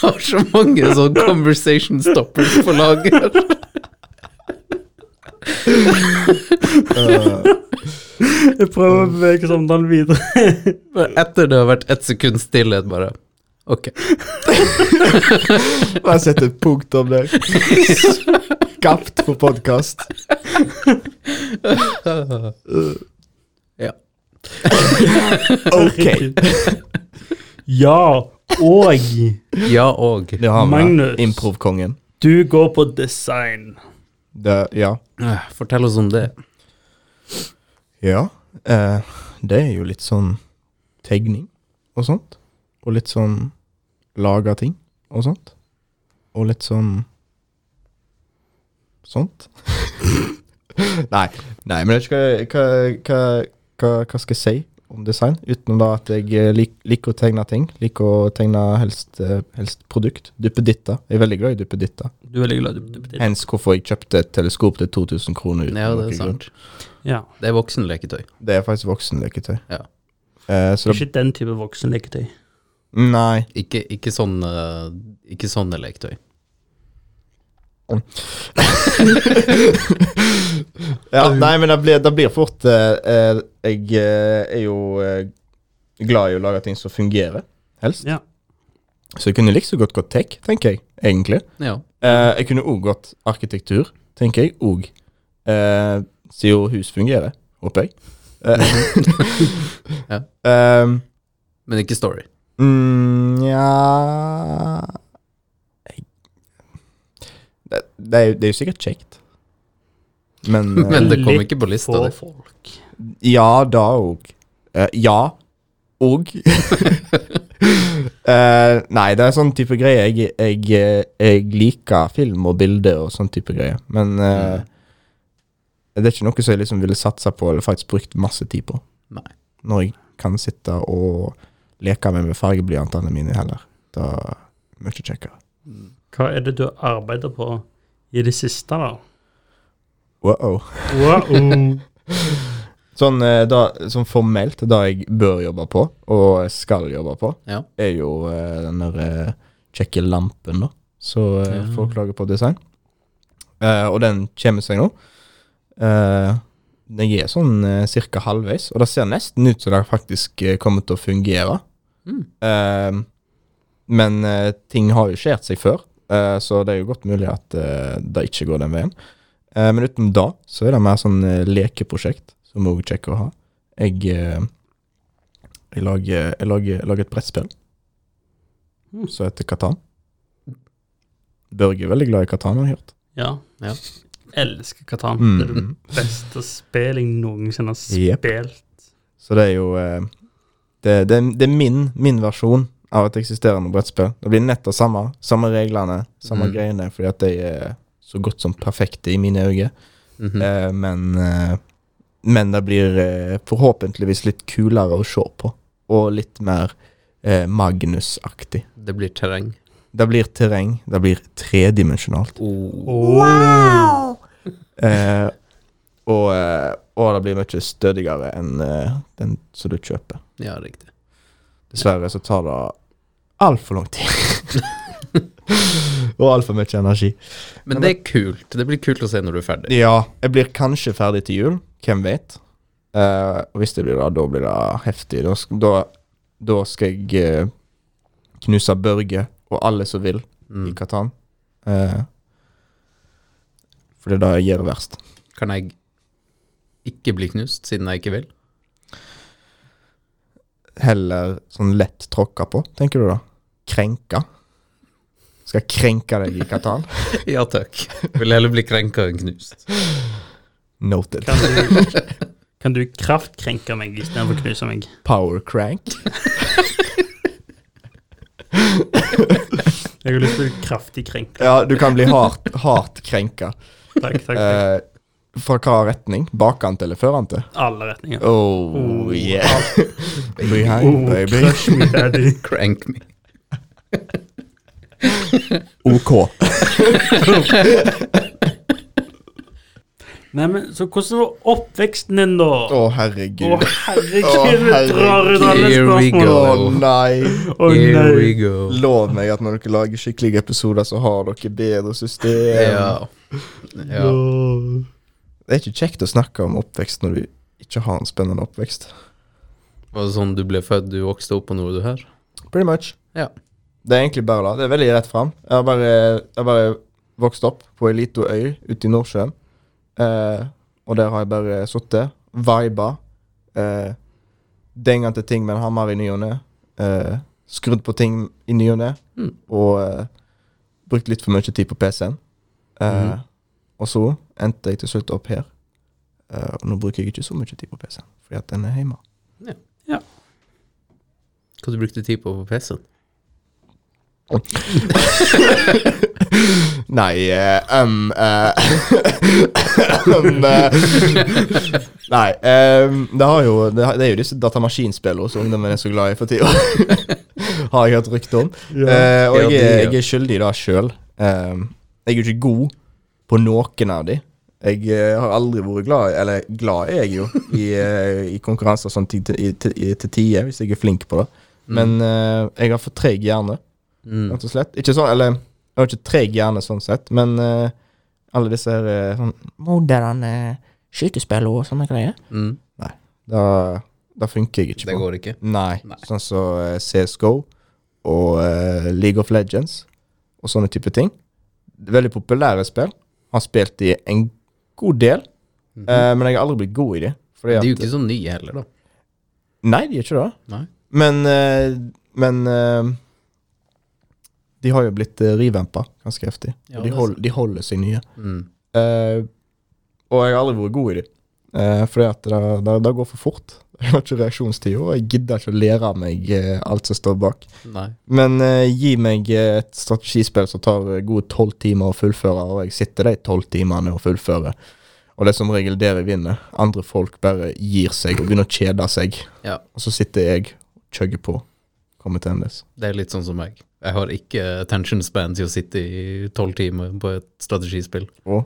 B: har så mange sånne conversation stoppers på lager.
K: uh,
C: Jeg prøver å bevege samtalen videre.
B: Etter det har vært ett sekund stillhet, bare. Ok.
K: bare sett et punktum der. Skapt for podkast.
B: Ja.
K: Ok.
C: *laughs* Ja, og
B: Ja og.
K: Det har vi.
C: Magnus.
K: Improvkongen.
C: du går på design.
K: Det- Ja.
B: Eh, Fortell oss om det.
K: Ja. eh, det er jo litt sånn tegning og sånt. Og litt sånn laga ting og sånt. Og litt sånn sånt. *laughs* nei, nei, men jeg vet ikke hva, hva, hva, hva skal jeg si om design? Utenom da at jeg eh, lik, liker å tegne ting. Liker å tegne helst, eh, helst produkt. Duppeditta. Jeg er veldig glad i duppeditta.
C: Du er veldig glad i duppetitt.
K: Hens hvorfor jeg kjøpte et teleskop til 2000 kroner. uten
B: Ja, det
K: noen
B: er
K: grunn.
B: sant.
C: Ja.
B: Det er voksenleketøy.
K: Det er faktisk voksenleketøy.
B: Ja.
K: Eh, så det,
C: Ikke den type voksenleketøy.
K: nei.
B: Ikke, ikke, sånne, ikke sånne leketøy.
K: Ja, nei, men det blir, det blir fort eh, eh, Jeg eh, er jo eh, glad i å lage ting som fungerer, helst.
C: Ja.
K: Så jeg kunne like så godt gått tech, tenker jeg, egentlig.
B: *laughs* Ja.
K: Eh, jeg kunne òg gått arkitektur, tenker jeg, òg. Eh, Siden jo hus fungerer, håper jeg. Mhm. Eh,
B: Ja.
K: Ehm,
B: Men ikke story.
K: Mm, ja det, det, er, jo- det er jo sikkert kjekt. Men, eh,
B: *laughs* Men det kom ikke på lista
C: For
B: di.
C: folk.
K: Ja, da òg. Eh, ja og *laughs* Eh, Nei, det er sånn type greie. Jeg, jeg, eh, jeg liker film og bilder og sånn type greie, men eh, det er ikke noe som jeg liksom ville satsa på eller faktisk brukt masse tid på.
B: Nei.
K: Når jeg kan sitte og leke meg med fargeblyantene mine heller. Da er det mye kjekkere.
C: Hva er det du arbeider på i det siste, da?
K: Wow.
C: Wow.
K: *laughs* Sånn, eh, da, sånn formelt, det jeg bør jobbe på, og skal jobbe på,
B: Ja.
K: er jo eh, den der eh, kjekke lampen, da. Så eh,
B: Ja.
K: folk lager på design. Eh, og den kommer seg nå. Eh, den er sånn eh, cirka halvveis, og det ser nesten ut som det faktisk eh, kommer til å fungere.
B: Mm.
K: Eh, men eh, ting har jo skjert seg før, eh, så det er jo godt mulig at eh, det ikke går den veien. Eh, men utenom da, så er det mer sånn eh, lekeprosjekt, som òg er kjekk å ha. Jeg, eh, jeg, lager, jeg, lager, jeg lager et brettspill
C: Mm.
K: som heter Katan. Børge er veldig glad i Katan, har jeg hørt.
C: Ja.
B: Ja.
C: Elsker Katan.
K: Mm.
C: Det er det beste spillet jeg noensinne har
K: Jep.
C: spilt.
K: Så det er jo eh, Det, det, det er min, min versjon av et eksisterende brettspill. Det blir nett det samme. Samme reglene, samme
B: Mm.
K: greiene, fordi at de er så godt som perfekte i mine øyne.
B: Mhm.
K: Eh, men, eh, men det blir eh, forhåpentligvis litt kulere å se på, og litt mer eh, Magnus-aktig.
B: Det blir terreng.
K: Det blir terreng, det blir tredimensjonalt.
B: Oh.
K: Eh, og, eh, og det blir mye stødigere enn eh, den som du kjøper.
B: Ja, riktig.
K: Dessverre så tar det altfor lang tid. og altfor mye energi.
B: Men det er kult. Det blir kult å se når du er ferdig.
K: Ja, jeg blir kanskje ferdig til jul. Hvem vet? Eh, og hvis det blir det, da blir det heftig. Da, sk- da, da skal jeg eh, knuse Børge og alle som vil i
B: Mm.
K: Katan. Eh, for det er da jeg gjør det verst.
B: Kan jeg ikke bli knust, siden jeg ikke vil? *laughs*
K: Heller sånn lett tråkka på, tenker du da? Krenka? Skal jeg krenke deg i *laughs* Katan?
B: Ja takk. Vil heller bli krenka enn knust.
K: Noted.
C: Kan
B: *laughs*
C: du, kan du kraftkrenke meg istedenfor å knuse meg?
K: Power crank.
C: Jeg har lyst til å bli kraftig krenka.
K: *laughs* Ja, du kan bli hardt, hardt krenka.
C: Takk, takk, takk.
K: Eh, fra hva retning? Bakan til eller føran til?
C: Alle retninger.
K: Oh,
C: Oh,
K: yeah. *laughs* Behind,
C: Oh,
K: baby.
C: Crush me, daddy.
B: *laughs* Crank me.
K: OK.
C: Nei, men så hvordan var oppveksten din, da?
K: Å,
C: Å,
K: herregud.
C: herregud, vi
K: Å,
C: drar ut alle
B: herregud. Here we
K: Å,
C: spørsmål.
K: nei.
C: Å,
B: Here
C: nei.
B: we go.
K: Lov meg at når dere lager skikkelige episoder, så har dere bedre system.
B: Ja. ja.
K: Det er ikke kjekt å snakke om oppvekst når du ikke har en spennende oppvekst.
B: Var det sånn du ble født, du vokste opp, og nå er du her?
K: Pretty much.
B: Ja.
K: Det er egentlig bare da. Det er veldig rett fram. Jeg har bare, jeg har bare vokst opp på ei lita øy ute i Nordsjøen. Eh, og der har jeg bare sittet, viba, eh, denga til ting med en hammer i ny og ne. Eh, skrudd på ting i ny og ne.
B: Mm.
K: Og eh, brukt litt for mye tid på PC-en. Eh,
B: Mhm.
K: Og så endte jeg til slutt opp her. Eh, og nå bruker jeg ikke så mye tid på PC-en, fordi at den er hjemme.
B: Hva du brukte tid på på PC-en?
K: Nei eh, um, eh, *laughs* um, eh, Nei. em, det, har jo, det, har- det er jo disse datamaskinspillene som ungdommen er så glad i for tida. *laughs* har jeg hørt rykte om. Eh, og
B: Ja,
K: jeg,
B: de,
K: er-
B: ja.
K: jeg er skyldig da sjøl. jeg er jo ikke god på noen av de. Jeg eh, har aldri vært glad i Eller glad er jeg jo i, eh, i konkurranser sånn til, til, til, til tider, hvis jeg er flink på det. Men eh, jeg har for treig hjerne
B: Mm.
K: rett og slett. Ikke sånn, eller Jeg har ikke treg hjerne sånn sett, men eh, alle disse her eh, sånn moderne skytespill og sånne greier.
B: Mm.
K: Da, da funker jeg ikke
B: Det
K: på.
B: går ikke.
K: Nei.
B: Nei.
K: Sånn som eh, CSGO og eh, League of Legends og sånne type ting. Veldig populære spill. Har spilt i en god del,
B: Mhm.
K: eh, men jeg har aldri blitt god i de.
B: De
K: Fordi at-
B: er jo ikke så nye heller, da.
K: Nei, de gjør ikke det.
B: Nei.
K: Men, eh, men eh, de har jo blitt uh, rivampa ganske heftig.
B: Ja,
K: Og
B: det
K: de,
B: er
K: hold, de holder seg nye.
B: Mm.
K: Eh, og jeg har aldri vært god i dem. Uh, fordi at det, det, det går for fort. Jeg har ikke reaksjonstid, og jeg gidder ikke å lære av meg eh, alt som står bak.
B: Nei.
K: Men eh, gi meg eh, et strategispill som tar eh, gode tolv timer å fullføre, og jeg sitter de tolv timene og fullfører. Og det er som regel der jeg vinner. Andre folk bare gir seg og begynner å kjede seg.
B: Ja.
K: Og så sitter jeg og chugger på. Kommer til endes.
B: Det er litt sånn som meg. Jeg har ikke attention span til å sitte i tolv timer på et strategispill.
K: Å?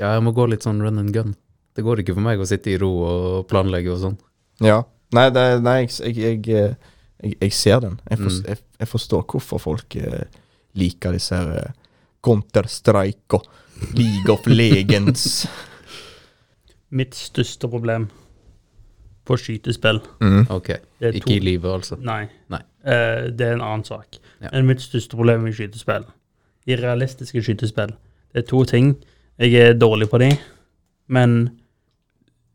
B: Ja, jeg må gå litt sånn run and gun. Det går ikke for meg å sitte i ro og planlegge og sånn.
K: Ja. Nei, det, nei jeg, jeg, jeg, eh, jeg, jeg ser den. Jeg, for,
B: Mm.
K: jeg, jeg forstår hvorfor folk eh, liker disse her eh, Counter-Strike og League of Legends.
C: Mitt største problem på skytespill
K: Mm.
B: Ok,
C: det er
B: ikke
C: to
B: i livet altså.
C: Nei.
B: Nei.
C: Eh, det er en annen sak.
B: Ja.
C: Men mitt største problem i skytespill, i realistiske skytespill, det er to ting. Jeg er dårlig på de, men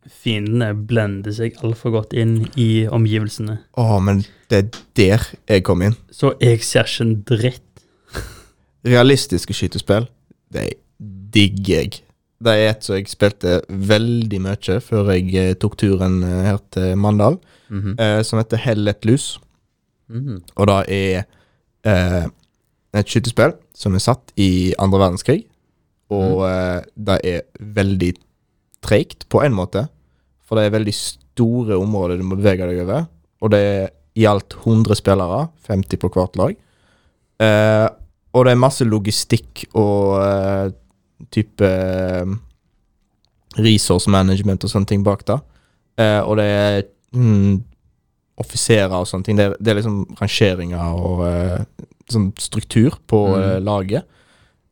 C: fiendene blender seg altfor godt inn i omgivelsene.
K: Å, men det er der jeg kom inn.
C: Så jeg ser ikke en dritt.
K: Realistiske skytespill, de digger jeg. Det er et som jeg spilte veldig mye før jeg eh, tok turen eh, her til Mandal,
B: Mhm.
K: eh, som heter Hell et lus.
B: Mhm.
K: Og det er eh, et skytespill som er satt i andre verdenskrig. Og
B: Mhm.
K: eh, det er veldig treigt på en måte, for det er veldig store områder du må bevege deg over. Og det er i alt 100 spillere, 50 på hvert lag. Eh, og det er masse logistikk og eh, type eh, resource management og sånne ting bak det. Eh, og det er mm, offiserer og sånne ting. Det er, det er liksom rangeringer og eh, sånn struktur på
B: Mm.
K: eh, laget.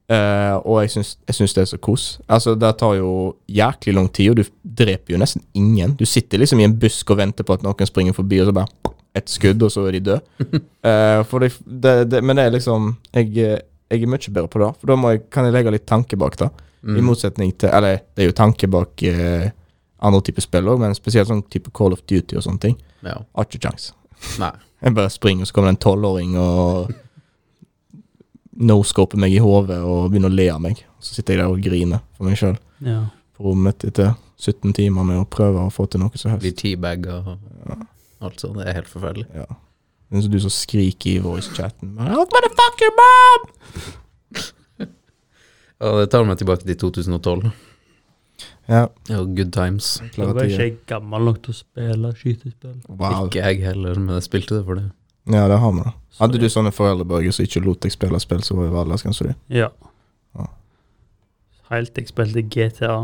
K: Eh, og jeg syns, jeg syns det er så kos. Altså, det tar jo jæklig lang tid, og du dreper jo nesten ingen. Du sitter liksom i en busk og venter på at noen springer forbi, og så bare et skudd, og så er de døde. Eh, for det, det, det, men det er liksom jeg, eh, jeg er mye bedre på det, for da må jeg, kan jeg legge litt tanke bak det. I
B: Mm.
K: motsetning til Eller det er jo tanke bak eh, andre typer spill òg, men spesielt sånn type Call of Duty og sånne ting.
B: Ja.
K: Har ikke kjangs.
B: Nei.
K: Jeg bare springer, og så kommer det en tolvåring og noscope meg i hodet og begynner å le av meg. Så sitter jeg der og griner for meg sjøl
C: Ja.
K: på rommet etter 17 timer med å prøve å få til noe som
B: Blir
K: helst.
B: teabagga og alt sånt. Det er helt forferdelig.
K: Ja. Men så du som skriker i voice-chatten Oh, motherfucker, mom!
B: Ja, det tar meg tilbake til 2012.
K: Ja,
B: Ja, good times.
C: Da var
K: klart
C: ikke
K: jeg
C: jeg gammel nok til å spille skytespill.
K: Wow.
B: Ikke jeg heller, men jeg spilte det for det.
K: Ja, det har vi, da. Hadde
C: Sorry.
K: du sånne foreldre, Børge, som ikke lot deg spille spill som var i aldersgrensa di?
C: Ja.
K: Ja.
C: Helt til jeg spilte GTA.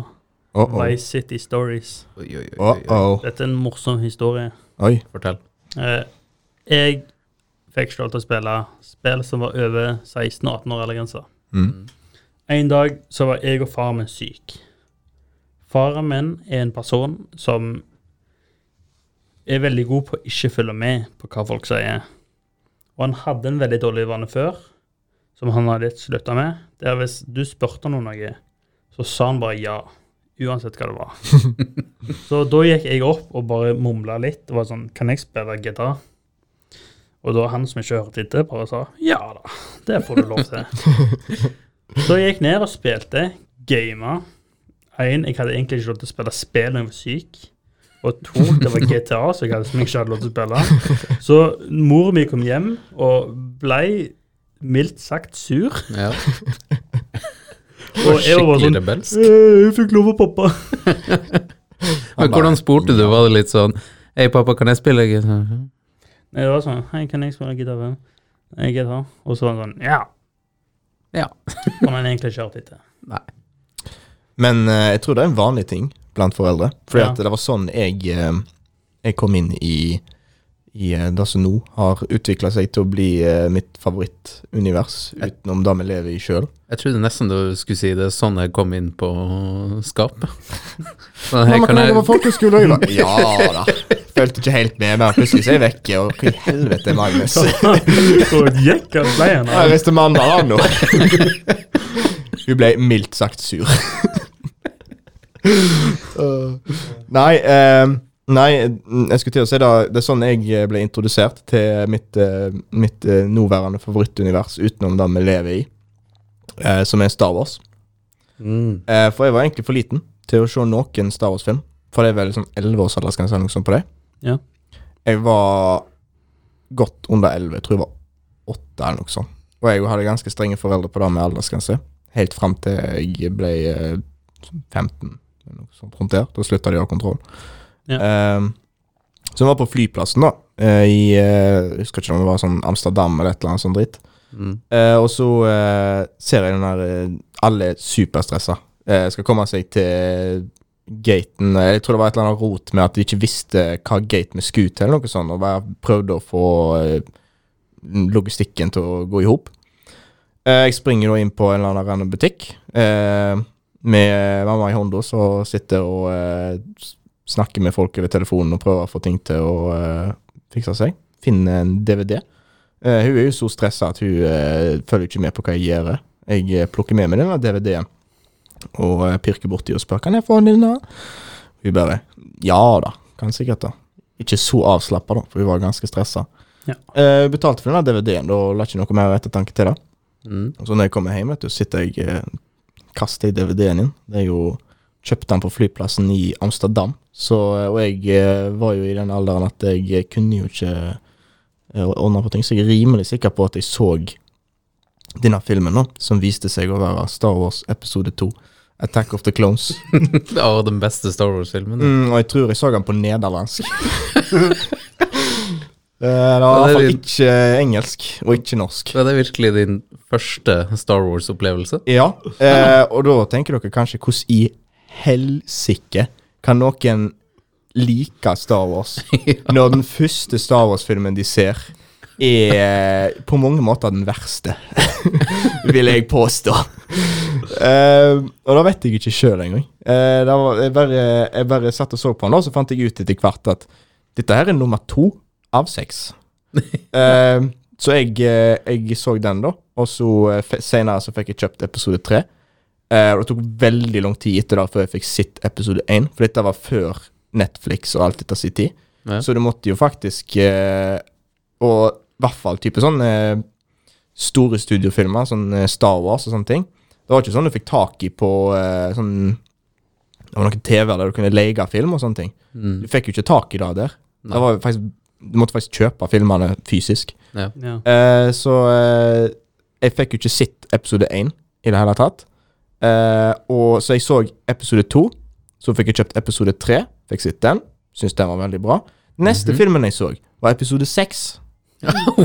K: Oh, oh.
C: Vice City Stories.
B: Oi, oi, oi,
K: Oh,
B: oi, oi.
K: oh.
C: Dette er en morsom historie.
K: Oi.
B: Fortell.
C: Eh, jeg fikk ikke lov til å spille spill som var over 16 og 18 år eller grensa.
K: Mm.
C: En dag så var jeg og faren min syk. Faren min er en person som er veldig god på å ikke følge med på hva folk sier. Og han hadde en veldig dårlig vane før, som han hadde litt slutta med. Der hvis du spurte han om noe, så sa han bare ja. Uansett hva det var. så da gikk jeg opp og bare mumla litt. og var sånn, Kan jeg spille gitar? Og da han som ikke hørte etter, bare sa ja da, det får du lov til. Så jeg gikk ned og spilte, gama. En, jeg hadde egentlig ikke lov til å spille spill når jeg var syk. Og to, det var GTA, så jeg hadde, som jeg ikke hadde lov til å spille. Så mor mi kom hjem og blei mildt sagt sur.
B: Ja,
C: Og jeg var bare
B: skikkelig
C: sånn
B: rebelsk.
C: «Eh, Jeg fikk lov av pappa.
K: Han
B: Men
K: bare,
B: hvordan spurte du? Var det litt sånn Hei, pappa, kan jeg spille? gitar?»
C: Nei, det var sånn Hei, kan jeg spille gitar? vel?» «Nei, gitar. Og så var han sånn Ja. *laughs*
B: Ja.
C: Som han egentlig ikke hørte *laughs* etter.
K: Men eh, jeg tror det er en vanlig ting blant foreldre. Fordi
C: Ja.
K: at det var sånn jeg, eh, jeg kom inn i, i eh, det som nå har utvikla seg til å bli eh, mitt favorittunivers, utenom det vi lever i sjøl.
B: Jeg trodde nesten du skulle si det er sånn jeg kom inn på skapet. Sånn, hei, kan jeg
K: folkeskole i dag? Ja da. Følte ikke helt med, men plutselig så er jeg vekke, og hva i helvete er Magnus?
B: *laughs*
C: Så gikk han blei han
K: Jeg reiste mandag av nå. Hun ble mildt sagt sur. Uh, nei, eh, nei, jeg skulle til å si det. Det er sånn jeg ble introdusert til mitt, eh, mitt eh, nåværende favorittunivers utenom det vi lever i, eh, som er Star Wars.
B: mm.
K: Eh, for jeg var egentlig for liten til å se noen Star Wars-film. For det er vel sånn 11 års aldersgrense eller noe sånt på det.
C: Ja.
K: Jeg var godt under 11, jeg tror jeg var 8 eller noe sånt. Og jeg hadde ganske strenge foreldre på det med aldersgrense. Helt fram til jeg ble eh, 15, eller noe sånt rundt der. Da slutta de å ha kontroll.
C: Ja.
K: Eh, så jeg var på flyplassen, da. eh, I, eh, jeg husker ikke om det var sånn Amsterdam eller et eller annet sånt dritt.
B: Mm.
K: Eh, og så eh, ser jeg den der eh, Alle er superstressa. Eh, skal komme seg til gaten. Eh, Jeg tror det var et eller annet rot med at de ikke visste hva gate vi skulle til, eller noe sånt, og bare prøvde å få eh, logistikken til å gå i hop. Eh, jeg springer da inn på en eller annen random butikk eh, med mamma i hånda, som sitter og eh, s- snakker med folk over telefonen og prøver å få ting til å eh, fikse seg. Finne en DVD. Eh, hun er jo så stressa at hun eh, følger ikke med på hva jeg gjør. Jeg eh, plukker med meg denne DVD-en og eh, pirker borti og spør kan jeg få den. da?" Hun bare ja da, kan sikkert da. Ikke så avslappa, da, for hun var ganske stressa.
C: Ja.
K: Eh, hun betalte for denne DVD-en og la ikke noe mer ettertanke til det.
B: Mm.
K: Og så når jeg kommer hjem, vet du, sitter jeg eh, kaster jeg DVD-en inn. Det er jo kjøpte den på flyplassen i Amsterdam. Så, eh, og jeg eh, var jo i den alderen at jeg eh, kunne jo ikke eh, ordne på ting, så jeg er rimelig sikker på at jeg så denne filmen nå, som viste seg å være Star Wars episode 2, Attack of the
B: *laughs*
K: Clones.
B: Ja, den beste Star Wars-filmen.
K: Mm, og jeg tror jeg så den på
B: *laughs*
K: nederlandsk. Eh, det var i
B: Ja, det
K: hvert
B: er
K: fall
B: litt-
K: ikke engelsk, og ikke norsk.
B: Var det virkelig din første Star Wars-opplevelse?
K: Ja, eh, og da tenker dere kanskje hvordan i helsike kan noen like Star Wars når den første Star Wars-filmen de ser, er eh, på mange måter den verste, *laughs* vil jeg påstå. Eh, og da vet jeg ikke sjøl engang. Eh, da var- jeg, bare, jeg bare satt og så på den, da, så fant jeg ut etter hvert at dette her er nummer to av seks. Eh, så jeg, eh, jeg så den, da. Og så eh, fe- senere så fikk jeg kjøpt episode tre. Eh, og det tok veldig lang tid etter det før jeg fikk sett episode én, for dette var før Netflix og alt dette sin tid.
B: Ja.
K: Så du måtte jo faktisk eh, Og i hvert fall type sånn eh, store studiofilmer, sånn eh, Star Wars og sånne ting. Det var ikke sånn du fikk tak i på eh, sånn Det var noen TV-er der du kunne leie film og sånne ting.
B: Mm.
K: *laughs* Du fikk jo ikke tak i det der. Det var jo faktisk, du måtte faktisk kjøpe filmene fysisk.
C: Ja.
K: Eh, så eh, jeg fikk jo ikke sett episode én i det hele tatt. Eh, og, så jeg så episode to. Så fikk jeg kjøpt episode tre. Fikk sett den. Syns den var veldig bra. Neste
B: Mhm.
K: filmen jeg så, var episode seks.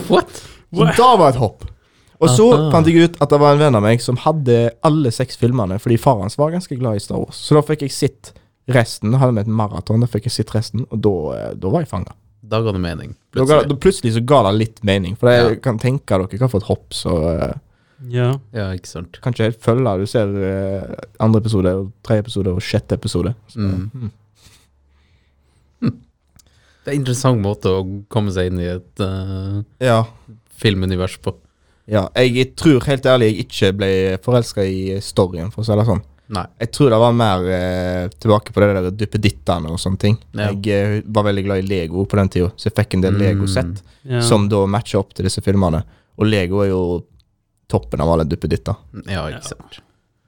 B: What?
K: Så da var et hopp. Og så
B: Aha.
K: fant jeg ut at det var en venn av meg som hadde alle seks filmene, fordi faren hans var ganske glad i Star Wars. Så da fikk jeg sett resten. Da hadde vi et maraton, da fikk jeg sett resten, og da, eh, da var jeg fanga.
B: Da ga det mening.
K: Da ga- da
B: Plutselig.
K: Plutselig så ga det litt mening, for jeg
B: Ja.
K: kan tenke dere hva for et hopp, så eh,
C: ja.
B: Ja, ikke sant.
K: kan ikke helt følge. Du ser eh, andre episode, og tredje episode og sjette episode. Så,
B: Mm.
K: mm.
B: Det er en interessant måte å komme seg inn i et eh,
K: Ja.
B: filmunivers på.
K: ja. Jeg, jeg tror helt ærlig jeg ikke ble forelska i storyen, for å si det sånn.
B: Nei.
K: Jeg tror det var mer eh, tilbake på det der duppedittene og sånne ting.
B: Ja.
K: Jeg eh, var veldig glad i Lego på den tida, så jeg fikk en del
B: Mm.
K: Lego-sett
C: ja.
K: som da matcher opp til disse filmene. Og Lego er jo toppen av alle duppeditter.
B: Ja, ikke sant.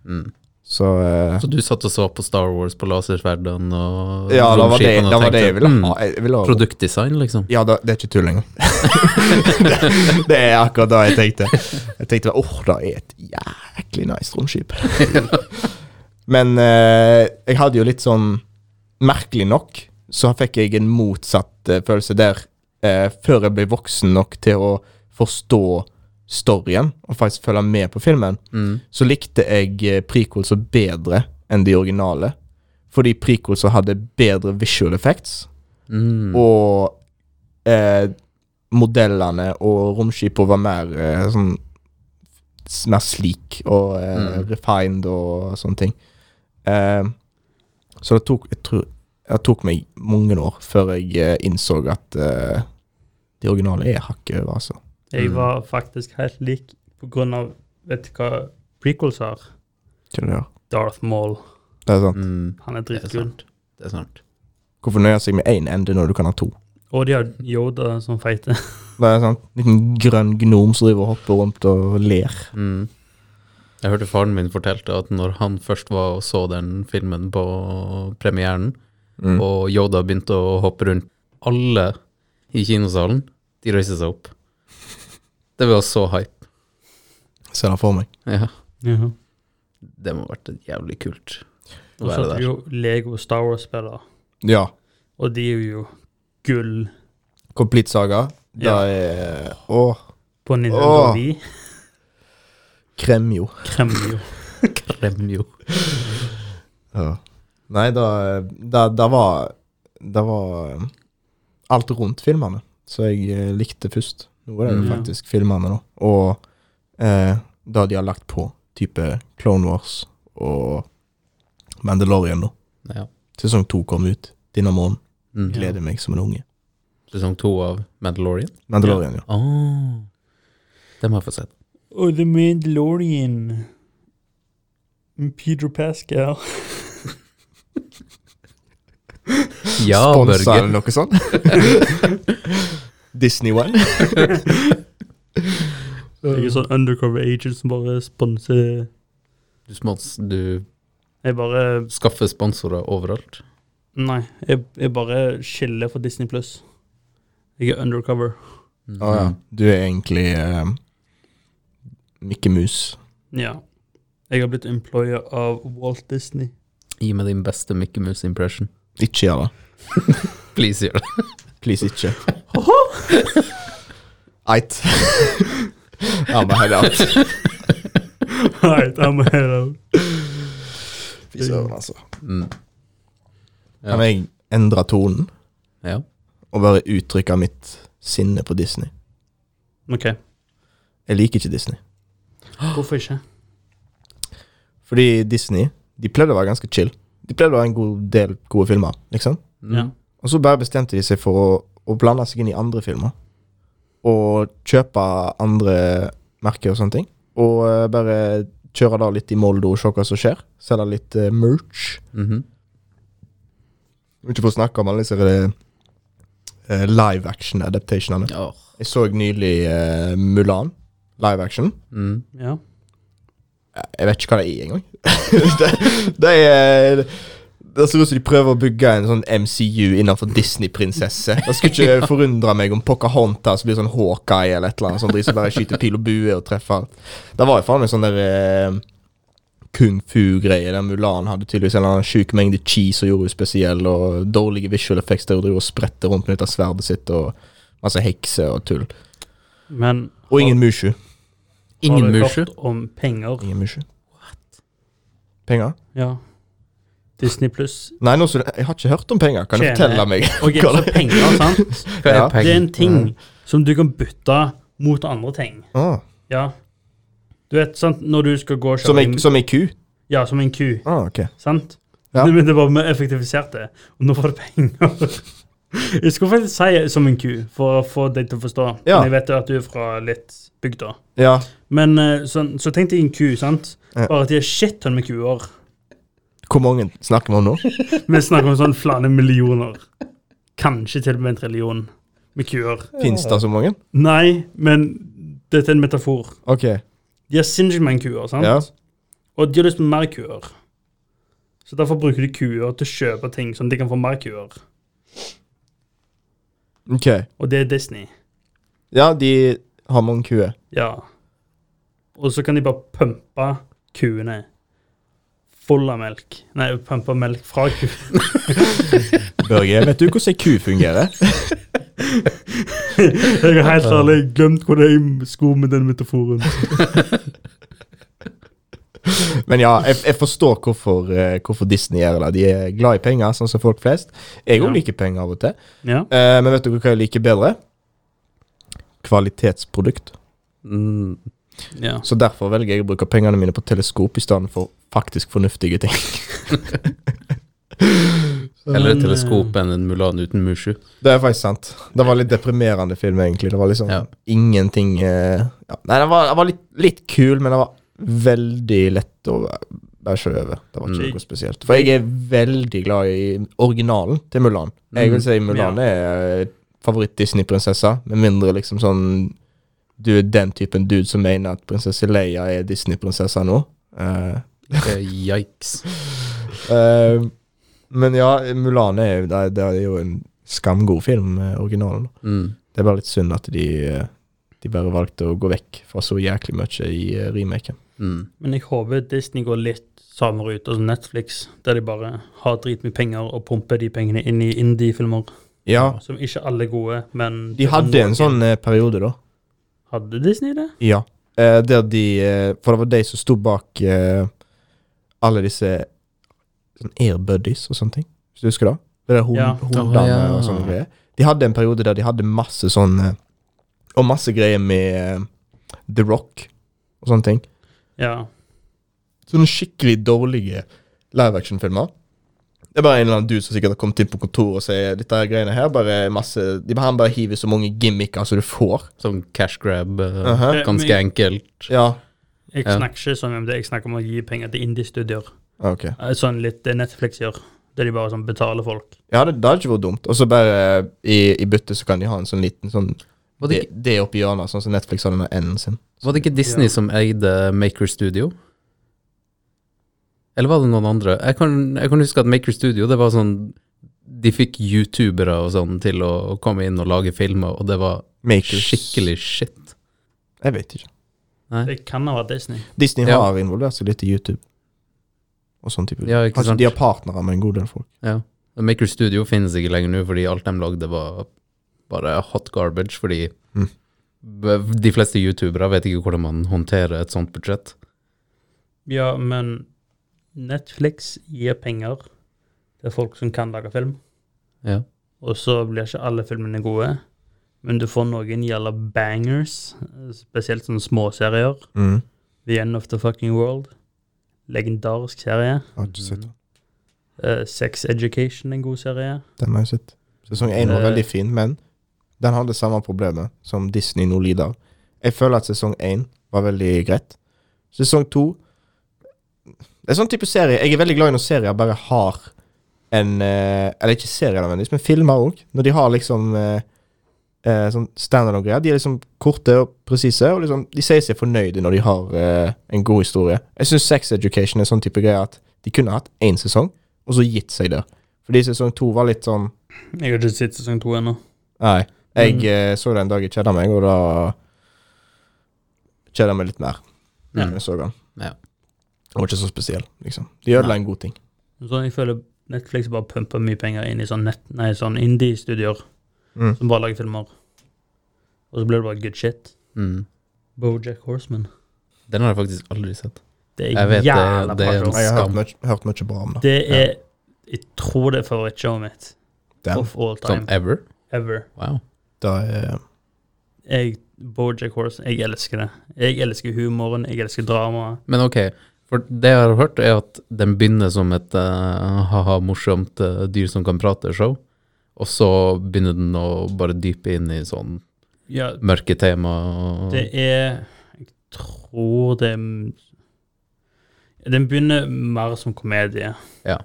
B: Mm.
K: Så eh,
B: Så du satt og så på Star Wars på lasersverdene og
K: Ja, det var det,
B: romskipene og
K: det, var
B: tenkte,
K: det jeg ville
B: mm,
K: ha. sånn, Jeg ville ha
B: Produktdesign, liksom.
K: Ja, da, det er ikke tull lenger. *laughs* det, det er akkurat det jeg tenkte. Jeg tenkte åh, det er et jæklig nice romskip. *laughs* Men eh, jeg hadde jo litt sånn Merkelig nok så fikk jeg en motsatt eh, følelse der eh, før jeg ble voksen nok til å forstå storyen og faktisk følge med på filmen
B: Mm.
K: så likte jeg eh, prequelser bedre enn de originale. Fordi prequelser hadde bedre visual effects,
B: Mm.
K: og eh, modellene og romskipene var mer eh, sånn s- Mer sleek og eh,
B: Mm.
K: refined og sånne ting. Eh, så det tok jeg tror, det tok meg mange år før jeg eh, innså at eh, de originale er hakket over, altså.
C: Jeg var faktisk helt lik på grunn av Vet du hva prequels er?
K: Skjønner du?
C: Darth Maul.
K: Det er sant.
B: Mm.
C: Han er
B: Det er
C: dritkul.
B: sant. Det er sant.
K: Hvorfor nøye seg med én ende når du kan ha to?
C: Og de har Yoda som feite.
K: Det er sånn liten grønn gnom som driver og hopper rundt og ler.
B: Mm. Jeg hørte faren min fortalte at når han først var og så den filmen på premieren,
K: Og
B: og Yoda begynte å hoppe rundt alle i kinosalen, de reiste seg opp. Det var så hype.
K: ser det for meg.
B: Ja,
C: Ja.
B: det må ha vært jævlig kult å
C: Og så
B: være
C: er det
B: der.
C: jo Lego Star Wars-spillere,
K: Ja.
C: og de er jo gull
K: Complete Saga. Det
C: Ja.
K: er Åh,
C: på Nintendo
K: Åh.
C: Wii.
K: krem jo.
C: Kremmer jo.
B: Kremjo.
K: Nei, da da- da var Det var um, alt rundt filmene som jeg eh, likte først. Nå er det jo
C: Mm.
K: faktisk filmene, da. Og eh, det de har lagt på. Type Clone Wars og Mandalorian, da.
B: Ja.
K: Sesong to kom ut denne måneden.
B: Mm.
K: Gleder meg som en unge.
B: Sesong to av Mandalorian.
K: Mandalorian, ja.
B: Ah. Det må jeg få sett.
C: Og The Mandalorian. Peter Pascal.
B: Ja,
K: Sponsa eller
B: Børge.
K: noe sånt. *laughs* Disney One.
C: Jeg er sånn undercover agent som bare sponser
B: Du, smons, du
C: Jeg bare
B: skaffer sponsorer overalt.
C: Nei, jeg, jeg bare skiller for Disney Pluss. Jeg er undercover.
K: Å ja. Mm. Du er egentlig eh, Mikke Mus.
C: Ja. Jeg har blitt employer av Walt Disney. *laughs*
B: Gi meg din beste Mickey Mouse impression.
K: Ikke gjør det.
B: Please gjør det.
K: Please, ikke. *laughs* Eit. *laughs* ja, men heller alt.
C: Right, I'm a hero.
K: Fy søren, altså.
B: Mm. Ja.
K: Kan jeg endre tonen
B: ja.
K: og bare uttrykke mitt sinne på Disney?
C: OK.
K: Jeg liker ikke Disney.
C: Hvorfor ikke?
K: Fordi Disney de pleide å være ganske chill. De pleide å ha en god del gode filmer, liksom.
B: Mm.
C: Ja.
K: Og så bare bestemte de seg for å, å blande seg inn i andre filmer. Og kjøpe andre merker og sånne ting. Og eh, bare kjøre da litt i Molde og se hva som skjer. Selge litt eh, merch.
B: Mhm.
K: Ikke for å snakke om alle disse eh, live action-adaptationene.
B: Åh.
K: Jeg så nylig eh, Mulan. live action.
B: Mm.
C: Ja.
K: Jeg vet ikke hva det er i engang. *laughs* det, det er det ser ut som de prøver å bygge en sånn MCU innenfor Disney-prinsesse. Det skulle ikke forundre meg om Pocahontas blir sånn Hawkeye eller et eller annet sånt. De som bare skyter pil og bue og treffer alt. Det var jo faen meg sånn der eh, kung fu-greie der Mulan hadde tydeligvis en eller annen sjuk mengde cheese og gjorde henne spesiell, og dårlige visual effects der hun driver og spretter rundt med dette sverdet sitt, og masse hekser og tull.
C: Men
K: Og ingen Mushu.
C: har
B: Ingen
C: du
B: Mushu?
C: hørt om penger?
K: Ingen Mushu. Penger?
C: Ja. Disney pluss
K: Nei, nå, så, jeg har ikke hørt om penger. Kan du
C: Tjene.
K: fortelle
C: *laughs*
K: meg?
C: Og
K: Hva
C: så
K: det-
C: penger, sant?
B: Hva
K: Ja.
B: er
C: Det er
B: penger?
C: en ting som du kan bytte mot andre ting.
K: Ah,
C: Ja. Du vet, sant, når du skal gå og
K: som,
C: kjøpe
K: i, som i ku?
C: Ja, som en ku,
K: Ah, ok.
C: sant?
K: Ja.
C: Det, men det var vi effektiviserte, og nå får du penger. *laughs* Jeg skulle faktisk si som en ku, for å få deg til å forstå.
K: Ja.
C: Men jeg vet jo at du er fra litt bygda.
K: Ja.
C: Men eh, sånn- så tenk deg en ku, sant?
K: Ja.
C: Bare at de er shitton med kuer.
K: Hvor mange snakker vi om nå? *laughs*
C: Vi snakker om sånn flane millioner. Kanskje til og med en trillion med kuer.
K: Fins det så mange?
C: Nei, men dette er en metafor.
K: Ok.
C: De har sinnssykt mange kuer, sant?
K: Ja.
C: Og de har lyst på mer kuer. Så derfor bruker de kuer til å kjøpe ting, sånn at de kan få mer kuer.
K: Ok.
C: Og det er Disney.
K: Ja, de har mange kuer.
C: Ja. Og så kan de bare pumpe kuene full av melk. Nei, pumpe melk fra ku. *laughs*
K: Børge, vet du hvordan ei ku fungerer?
C: Jeg har helt ærlig glemt hvor jeg skulle med den metaforen.
K: *laughs* Men ja, jeg, jeg forstår hvorfor, eh, hvorfor Disney gjør det. De er glad i penger, sånn som folk flest. Jeg òg
C: Ja.
K: liker penger av og til.
C: Ja.
K: Eh, men vet dere hva jeg liker bedre? Kvalitetsprodukt.
B: Mm.
C: ja.
K: Så derfor velger jeg å bruke pengene mine på teleskop i stedet for faktisk fornuftige ting.
B: Eller
C: Men,
B: et teleskop enn en eh, Mulan uten Mushu.
K: Det er faktisk sant. Det var litt deprimerende film, egentlig. Det var liksom
B: Ja.
K: ingenting eh, ja. Nei, den var, den var litt, litt kul, men den var veldig lett å bæsje over. Det var ikke
C: Mm.
K: noe spesielt. For jeg er veldig glad i originalen til Mulan. Jeg vil si Mulan er eh, favoritt-Disney-prinsessa, med mindre liksom sånn Du er den typen dude som mener at prinsesse Leia er Disney-prinsessa nå. Eh,
B: Eh, Yikes.
K: eh, men ja, Mulan er, jo- det, det er jo en skamgod film, eh, originalen.
B: Mm.
K: Det er bare litt synd at de, eh, de bare valgte å gå vekk fra så jæklig mye i eh, remaken.
B: Mm.
C: Men jeg håper Disney går litt samme rute som Netflix, der de bare har dritmye penger og pumper de pengene inn i indie-filmer.
K: Ja,
C: Som ikke alle er gode, men
K: de hadde en sånn eh, periode, da.
C: Hadde Disney det?
K: Ja. Eh, der de eh, For det var de som sto bak eh, alle disse sånn airbuddies og sånne ting, hvis du husker det? Det der hod-
C: Ja.
K: hodene
B: Ja.
K: og sånne greier. De hadde en periode der de hadde masse sånn eh, Og masse greier med eh, The Rock og sånne ting.
C: Ja.
K: Sånne skikkelig dårlige live action-filmer. Det er bare en eller annen dude som sikkert har kommet inn på kontoret og sier dette her greiene her, bare masse de, Han bare hiver så mange gimmicker som du får.
B: Sånn cash grab. eh,
K: Aha.
C: Eh,
B: Ganske
C: men-
B: enkelt.
K: Ja.
C: Jeg
B: Ja.
C: snakker ikke sånn om det, jeg snakker om å gi penger til indie-studier.
K: Ah, Ok.
C: Eh, Sånn litt det Netflix gjør, der de bare sånn betaler folk.
K: Ja, det, det hadde ikke vært dumt. Og så bare eh, i, i bytte så kan de ha en sånn liten sånn
B: Var
K: Det,
B: det, ikke-
K: det oppi hjørnet, sånn som Netflix har den der enden sin.
B: var det ikke Disney
C: Ja.
B: som eide Maker Studio? Eller var det noen andre? Jeg kan, jeg kan huske at Maker Studio, det var sånn De fikk youtubere og sånn til å komme inn og lage filmer, og det var
K: Makers.
B: skikkelig shit.
K: Jeg vet ikke.
C: Det kan ha vært Disney.
K: Disney
B: Ja.
K: har involvert seg litt i YouTube og sånn type.
B: Ja, ikke
K: Kanskje
B: sant?
K: de har partnere med en god del folk.
B: Maker Studio finnes ikke lenger nå, fordi alt de lagde var bare hot garbage, fordi
K: Mm.
B: b- de fleste youtubere vet ikke hvordan man håndterer et sånt budsjett.
C: Ja, men Netflix gir penger til folk som kan lage film,
B: Ja.
C: og så blir ikke alle filmene gode. Men du får noen jævla bangers, spesielt sånne småserier.
K: Mm.
C: The End of the Fucking World. Legendarisk serie.
K: Har ikke sett den.
C: Eh, Sex Education, en god serie.
K: Den har jeg sett. Sesong 1 var
C: Eh.
K: veldig fin, men den hadde samme problemet som Disney nå lider av. Jeg føler at sesong 1 var veldig greit. Sesong 2 Det er sånn type serie. Jeg er veldig glad i når serier bare har en eh, Eller ikke serier nødvendigvis, men filmer òg. Når de har liksom eh, eh, sånn standard-greier. De er liksom korte og presise, og liksom, de sier seg fornøyde når de har eh, en god historie. Jeg syns Sex Education er sånn type greie at de kunne hatt én sesong, og så gitt seg der. Fordi sesong to var litt sånn
C: Jeg har ikke sett sesong to ennå.
K: Nei. Jeg
B: Mm.
K: eh, så den dag jeg kjeda meg, og da kjeda jeg meg litt mer.
B: Ja.
K: Når jeg så den.
B: Ja.
K: Den var ikke så spesiell, liksom. De ødela en god ting.
C: Så sånn, jeg føler Netflix bare pumper mye penger inn i sånn, nett- nei, sånn indie-studier
K: Mm.
C: som bare lager filmer. Og så blir det bare good shit.
B: Mm.
C: Bojack Horseman.
B: Den har jeg faktisk aldri sett.
C: Det
B: Jeg vet
C: er
B: det-
C: jævla
B: det
C: bra
B: er en
C: show.
K: Jeg har hørt
B: Skam.
K: mye, hørt mye bra om det.
C: Det er Jeg tror det er favorittshowet mitt
K: Den,
C: of all time
B: Sånn ever?
C: ever.
B: Wow.
K: da er
C: Jeg, Bojack Horseman, jeg elsker det. Jeg elsker humoren, jeg elsker dramaet.
B: Men ok, for det jeg har hørt, er at den begynner som et eh, haha, morsomt eh, dyr som kan prate-show, og så begynner den å bare dype inn i sånn
C: Ja,
B: mørke tema. og-
C: Det er Jeg tror det er- Den begynner mer som komedie.
B: Ja.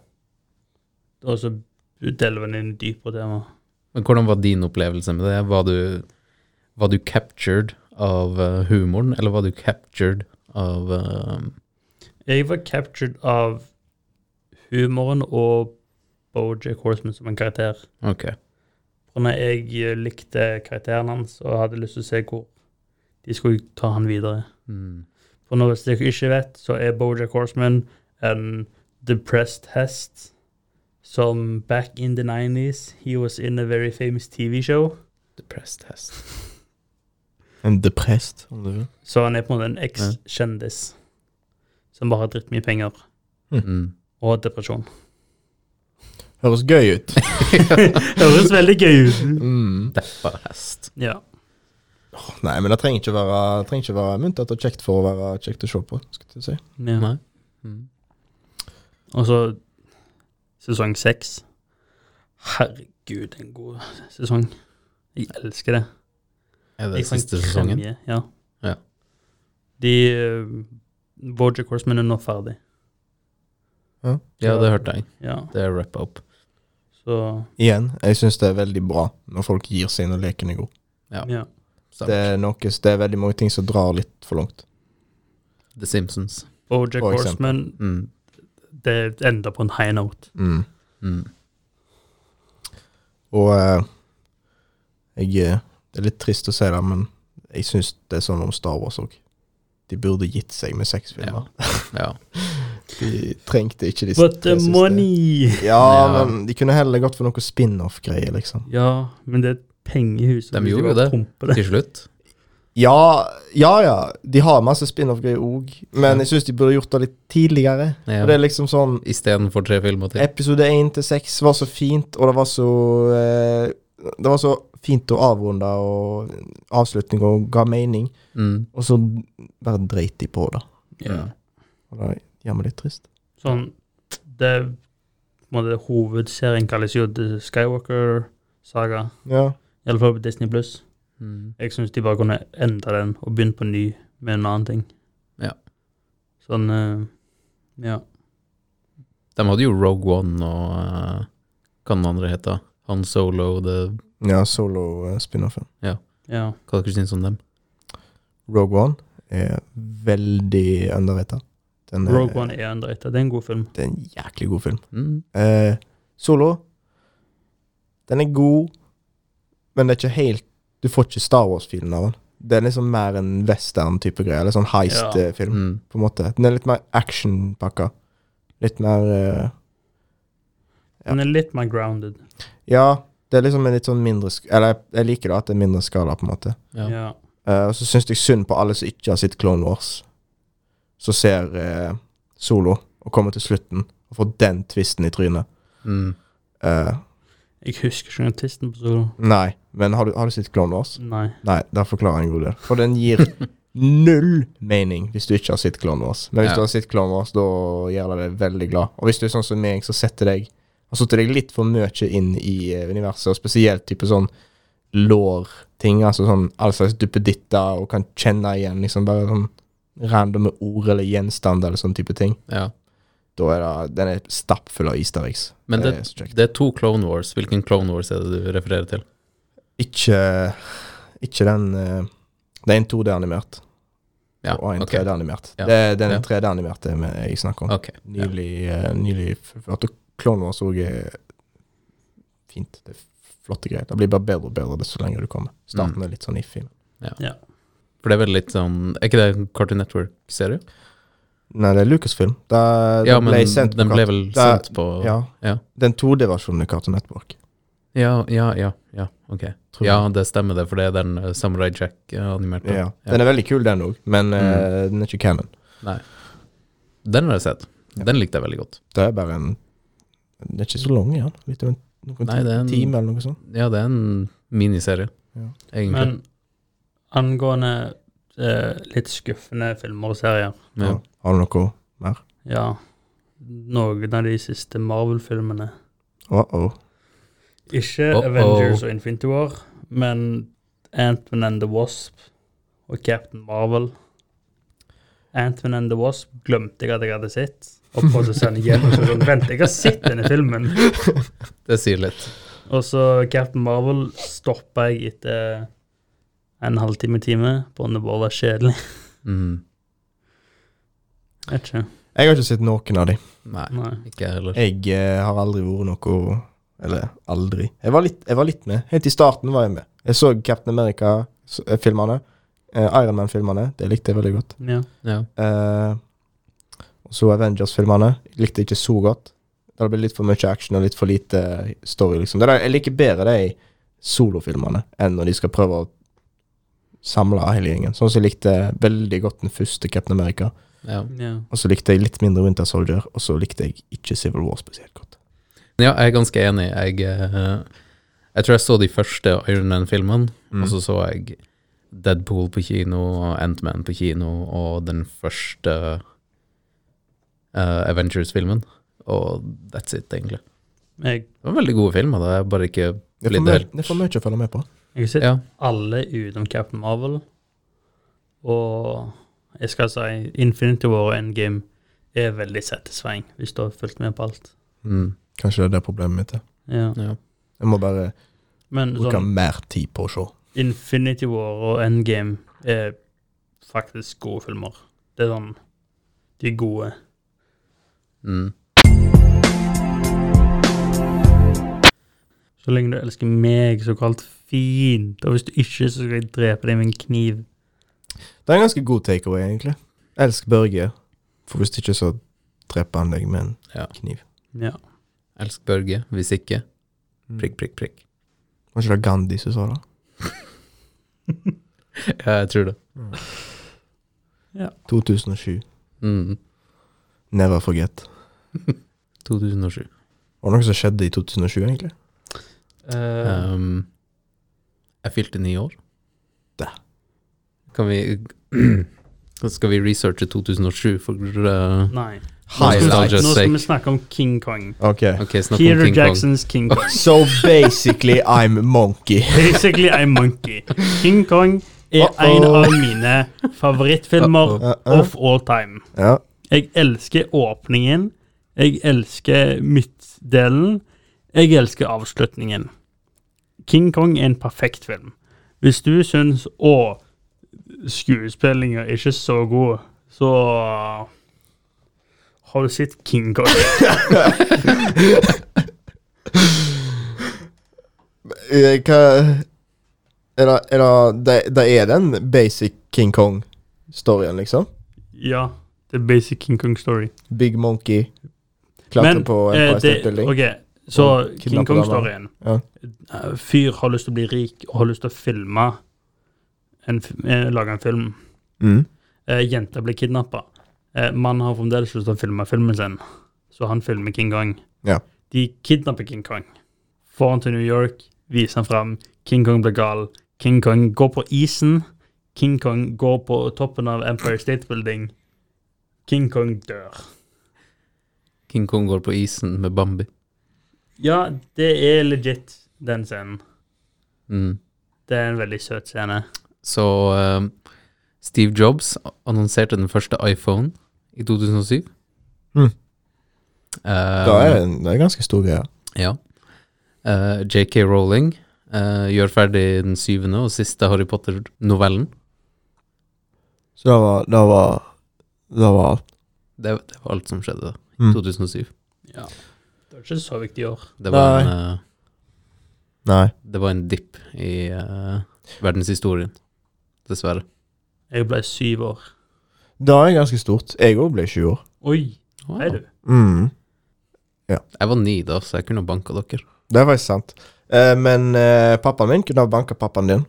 C: Og så deler den inn i dypere tema.
B: Men hvordan var din opplevelse med det? Var du, var du captured av eh, humoren, eller var du captured av eh,
C: Jeg var captured av humoren og Bojack Horseman som en karakter.
B: Ok.
C: For når jeg eh, likte karakteren hans og hadde lyst til å se hvor de skulle ta han videre.
B: mm,
C: For når hvis dere ikke vet, så er Bojack Horseman en depressed hest som back in the 90s, he was in a very famous TV show.
B: Depressed hest.
K: en depressed, om du vil.
C: Så han er på en måte en eks-kjendis som bare har drittmye penger
B: *laughs* Mm.
C: og har depresjon.
K: Høres gøy ut.
C: Høres veldig gøy ut.
K: Mm.
B: Deppa hest.
C: Ja.
K: *laughs* Nei, men det trenger ikke være, trenger ikke være muntert og kjekt for å være kjekt å se på. skal jeg si.
C: ja.
B: Nei. Mm.
C: Og så sesong seks. Herregud, en god sesong. Jeg elsker det.
B: Er det
C: Jeg fant
B: siste sesongen?
C: kremje, Ja.
B: Ja.
C: De uh, Bojack Horseman er nå ferdig.
B: Ja, det hørte jeg.
C: Ja.
B: Det er wrap up.
C: Så
K: Igjen, jeg syns det er veldig bra når folk gir seg når leken er god.
B: Ja.
C: ja.
B: Stemmer.
K: Det er, noe, det er veldig mange ting som drar litt for langt.
B: The Simpsons.
C: Bojack
K: For eksempel.
C: Horseman
B: Mm.
C: det ender på en high note.
K: Mm.
B: Mm.
K: Og eh, jeg eh, Det er litt trist å si det, men jeg syns det er sånn om Star Wars òg. De burde gitt seg med seks filmer.
B: Ja.
K: De trengte ikke de
C: But
K: tre
C: the
K: siste.
C: money!
K: Ja,
B: Ja.
K: men de kunne heller gått for noe spin-off-greier, liksom.
C: Ja, men det er et pengehus.
B: De
C: og vi skal
B: gjorde
C: bare
B: det.
C: pumpe det.
B: Til slutt.
K: Ja, ja, ja. De har masse spin-off-greier òg, men jeg syns de burde gjort det litt tidligere.
B: Ja.
K: For det er liksom sånn
B: Istedenfor tre filmer til.
K: Episode 1 til 6 var så fint, og det var så eh, Det var så fint å avrunde og avslutning og ga mening.
B: Mm.
K: Og så bare dreit de på det.
C: Ja.
K: Og det gjør meg litt trist.
C: Sånn, det er på en måte det hovedserien kalles jo The Skywalker-saga.
K: Ja.
C: I alle fall på Disney Pluss.
B: Mm.
C: Jeg syns de bare kunne endre den og begynne på ny med en annen ting.
B: Ja.
C: Sånn eh, Ja.
B: De hadde jo Rogue One og eh, hva den andre heter. Han Solo og det
K: ja Solo-spin-offen.
C: ja.
B: Hva dere syns om dem?
K: Rogue One er veldig underrated. Den er-
C: Rogue One er underrated. Det er en god film.
K: Det er en jæklig god film.
B: Mm.
K: Eh, Solo Den er god, men det er ikke helt Du får ikke Star Wars-filen av den. Det er liksom mer en western-type greie. Eller sånn heist-film.
B: Mm.
K: på en måte. Den er litt mer actionpakka. Litt mer eh, Ja.
C: Den er litt mer grounded.
K: Ja, det er liksom en litt sånn mindre sk Eller jeg, jeg liker da at det er mindre skala, på en måte.
B: Ja.
C: ja.
K: Eh, og så syns jeg synd på alle som ikke har sett Clone Wars, som ser eh, Solo og kommer til slutten og får den twisten i trynet.
B: Mm.
K: Eh,
C: Jeg husker ikke artisten på Solo.
K: nei, men har du, har du sett Clone Wars?
C: Nei.
K: Nei, det forklarer en god del. For den
B: *laughs*
K: gir null mening hvis du ikke har sett Clone Wars. Men hvis
B: Ja.
K: du har sett Clone Wars, da gjør det deg veldig glad. Og hvis du er sånn som meg, så setter deg har satt deg litt for mye inn i eh, universet, og spesielt type sånn lår-ting, altså sånn all slags duppeditter, og kan kjenne igjen liksom bare sånn randome ord eller gjenstander eller sånn type ting.
B: ja.
K: Da er det, den er stappfull av easter eggs.
B: Men
K: er så kjekt.
B: Det er to Clone Wars. Hvilken Clone Wars er det du refererer til?
K: Ikke Ikke den eh, Det er en 2D-animert
B: Ja,
K: og en
B: ok.
K: 3D-animert.
B: Ja,
K: Det er den
B: ja.
K: 3D-animerte med- jeg snakker om.
B: Ok, ja.
K: Nylig, eh, nylig fullført. Og Clone Wars òg er fint. Det er flotte greier. Det blir bare bedre og bedre desto lenger du kommer. Starten
B: Mm.
K: er litt sånn iffy.
B: For det er vel litt sånn Er ikke det en Cartoon Network-serie?
K: Nei, det er Lucasfilm. Det, det
B: Ja, men
K: ble sendt på
B: den ble
K: kart-
B: vel
K: det-
B: sendt på Ja,
K: Ja.
B: Ja.
K: Den 2D-versjonen er Cartoon Network.
B: ja, ja. ja, ok.
K: Tror
B: Ja,
K: jeg.
B: det stemmer, det, for det er den eh, Samurai Jack-animerte.
K: Ja. Den er veldig kul, den òg, men
B: Mm.
K: eh, den er ikke canon.
B: Den har jeg sett.
K: Ja.
B: Den likte jeg veldig godt.
K: Det er bare en Den er ikke så lang igjen. Litt over en, noen
B: Nei, det er en-
K: time eller noe sånt.
B: Ja, det er en miniserie,
K: Ja.
B: egentlig.
C: Men angående eh, litt skuffende filmer og serier
B: ja.
K: Ja. Har du noe mer?
C: Ja, noen av de siste Marvel-filmene.
K: Uh-oh.
C: Ikke
B: Uh-oh.
C: Avengers og Infinity War, men Ant-Man and the Wasp og Captain Marvel. Ant-Man and the Wasp glemte jeg at jeg hadde sett. Og prøvde å sende hjem og så sånn, vent, jeg har sett denne filmen.
B: *laughs* Det sier litt.
C: Og så Captain Marvel stoppa jeg etter en halvtime-time, på om det bare var kjedelig.
B: Mm.
C: Vet ikke.
K: Jeg har ikke sett noen av de.
B: Nei,
C: Nei.
B: ikke jeg heller.
K: Jeg eh, har aldri vært noe Eller aldri. Jeg var, litt, jeg var litt med. Helt i starten var jeg med. Jeg så Captain America-filmene. eh, Iron Man-filmene. Det likte jeg veldig godt.
C: Ja.
B: Ja.
K: Eh, og så Avengers-filmene. Jeg Likte ikke så godt. Det ble litt for mye action og litt for lite story, liksom. Det der, jeg liker bedre de solofilmene enn når de skal prøve å samle hele gjengen. Sånn som jeg likte veldig godt den første Captain America.
B: Ja.
C: ja.
K: Og så likte jeg litt mindre Winter Soldier, og så likte jeg ikke Civil War spesielt godt.
B: ja, jeg er ganske enig. Jeg, eh, jeg tror jeg så de første Iron Man-filmene,
K: Mm.
B: og så så jeg Deadpool på kino og Ant-Man på kino og den første eh, Avengers-filmen. Og that's it, egentlig.
C: Jeg,
B: Det var veldig gode filmer, da. Jeg bare ikke
K: Det er
B: Blir
K: for mye-
B: delt.
K: det er for mye å følge med på.
C: jeg har sett
B: Ja.
C: alle utenom Captain Marvel. Og jeg skal si Infinity War og Endgame er veldig satisfying, hvis du har fulgt med på alt.
B: Mm,
K: Kanskje det er det problemet mitt er.
C: Ja.
B: ja.
K: Jeg må bare
C: Men
K: bruke
C: sånn,
K: mer tid på å se.
C: Infinity War og Endgame er faktisk gode filmer. Det er sånn De er gode.
B: Mm.
C: Så lenge du elsker meg såkalt fint, og hvis du ikke, så skal jeg drepe deg med en kniv.
K: Det er en ganske god takeaway, egentlig. Elsk Børge, for hvis ikke så dreper han deg med en
B: Ja.
K: kniv.
C: Ja.
B: Elsk Børge. Hvis ikke, prikk, prikk, prikk.
K: Var ikke det Gandhi som sa det?
B: Ja, jeg tror det.
K: 2007.
B: Mm.
K: Never forget.
B: 2007.
K: Var det noe som skjedde i 2007, egentlig?
C: Eh,
B: Um, jeg fylte ni år.
K: Da.
B: Kan vi *clears throat* Skal vi researche 2007 for uh,
C: nei.
B: nostalgia's
C: Nå skal vi
B: sake?
C: snakke om King Kong.
K: Ok.
B: Ok, snakk om
C: Peter
B: King Kong.
C: Jacksons King Kong.
K: So basically I'm monkey.
C: Basically a monkey. King Kong er
K: Uh-oh.
C: en av mine favorittfilmer
B: Uh-oh.
K: Uh-uh.
C: of all time.
K: Ja.
C: Jeg elsker åpningen. Jeg elsker midtdelen. Jeg elsker avslutningen. King Kong er en perfekt film. Hvis du syns å skuespillinga er ikke så god, så har du sett King Kong.
K: Eh, Hva Er det er det- det, det er den basic King Kong-storyen, liksom?
C: Ja, The Basic King Kong Story.
K: Big Monkey klatre på
C: eh,
K: Empire State
C: det-
K: Building.
C: ok, så
K: Og
C: King
K: kidnappe
C: Kong-storyen.
K: damer.
C: Eh, Fyr har lyst til å bli rik og har lyst til å filme en, f- eh, lage en film.
K: Mm.
C: Eh, jenter blir kidnappa. Eh, Mannen har fremdeles lyst til å filme filmen sin, så han filmer King Kong.
K: Ja.
C: De kidnapper King Kong. Får han til New York, viser han fram. King Kong blir gal. King Kong går på isen. King Kong går på toppen av Empire State Building. King Kong dør.
B: King Kong går på isen med Bambi.
C: Ja, det er legit, den scenen.
B: Mm.
C: Det er en veldig søt scene.
B: Så um, Steve Jobs annonserte den første iPhone i 2007.
K: Mm.
B: Um, Eh,
K: Um, Da er det, en- det er en ganske stor greie.
B: Ja. Eh, JK Rowling Eh, gjør ferdig den syvende og siste Harry Potter-novellen.
K: Så det var Det var, det var alt.
B: Det, det var alt som skjedde da, i
K: Mm.
B: 2007.
C: Det er ikke så viktig i år.
B: Det var, en, eh,
K: Nei.
B: det var en dipp i eh, verdenshistorien, dessverre.
C: Jeg ble syv år.
K: Det er ganske stort. Jeg òg ble 20 år.
C: Oi,
B: Wow.
C: hei du.
K: Mm.
B: Jeg var ni da, så jeg kunne ha banka dere.
K: Det er faktisk sant. Eh, men eh, pappaen min kunne ha banka pappaen din,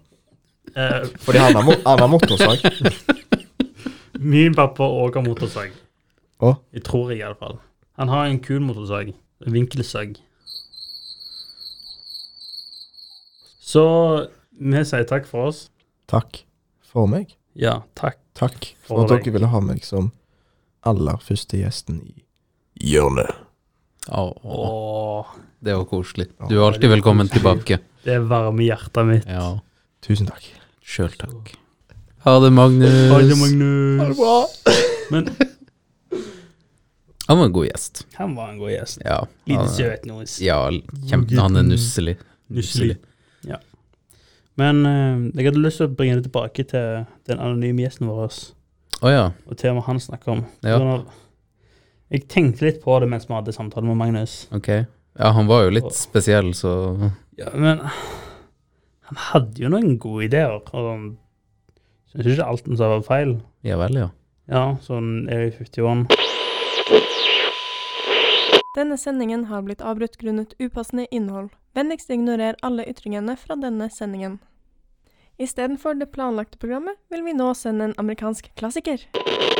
C: Eh,
K: fordi han har, mo- han har motorsag. *laughs*
C: min pappa òg har motorsag.
K: Å?
C: Jeg tror jeg, iallfall. Han har en kul motorsag. En vinkelsag. Så vi sier takk for oss.
K: Takk for meg.
C: Ja, takk.
K: Takk
C: For
K: for at
C: deg.
K: dere ville ha meg som aller første gjesten i
A: Hjørnet.
B: Åh,
C: Åh,
B: det var koselig.
K: Åh,
B: Du er alltid velkommen tilbake.
C: det varme hjertet mitt.
B: Ja,
K: Tusen takk.
B: sjøl takk. Ha det, Magnus.
C: Oi, Magnus. Men
B: Han var en god gjest.
C: *laughs* han var en god gjest.
B: Ja.
C: Liten
B: han-
C: søt nois.
B: Ja, kjempe, han er nusselig.
C: Nusselig. Men eh, jeg hadde lyst til å bringe det tilbake til den anonyme gjesten vår
B: Å ja.
C: og temaet han snakker om.
B: Ja.
C: Hvordan- Jeg tenkte litt på det mens vi hadde samtale med Magnus.
B: Ok. Ja, han var jo litt spesiell, så
C: Ja, men han hadde jo noen gode ideer. og han Syns ikke alt han sa var feil.
B: Ja vel, ja.
C: Ja, sånn Area 51.
L: Denne sendingen har blitt avbrutt grunnet upassende innhold. Vennligst ignorer alle ytringene fra denne sendingen. Istedenfor det planlagte programmet vil vi nå sende en amerikansk klassiker.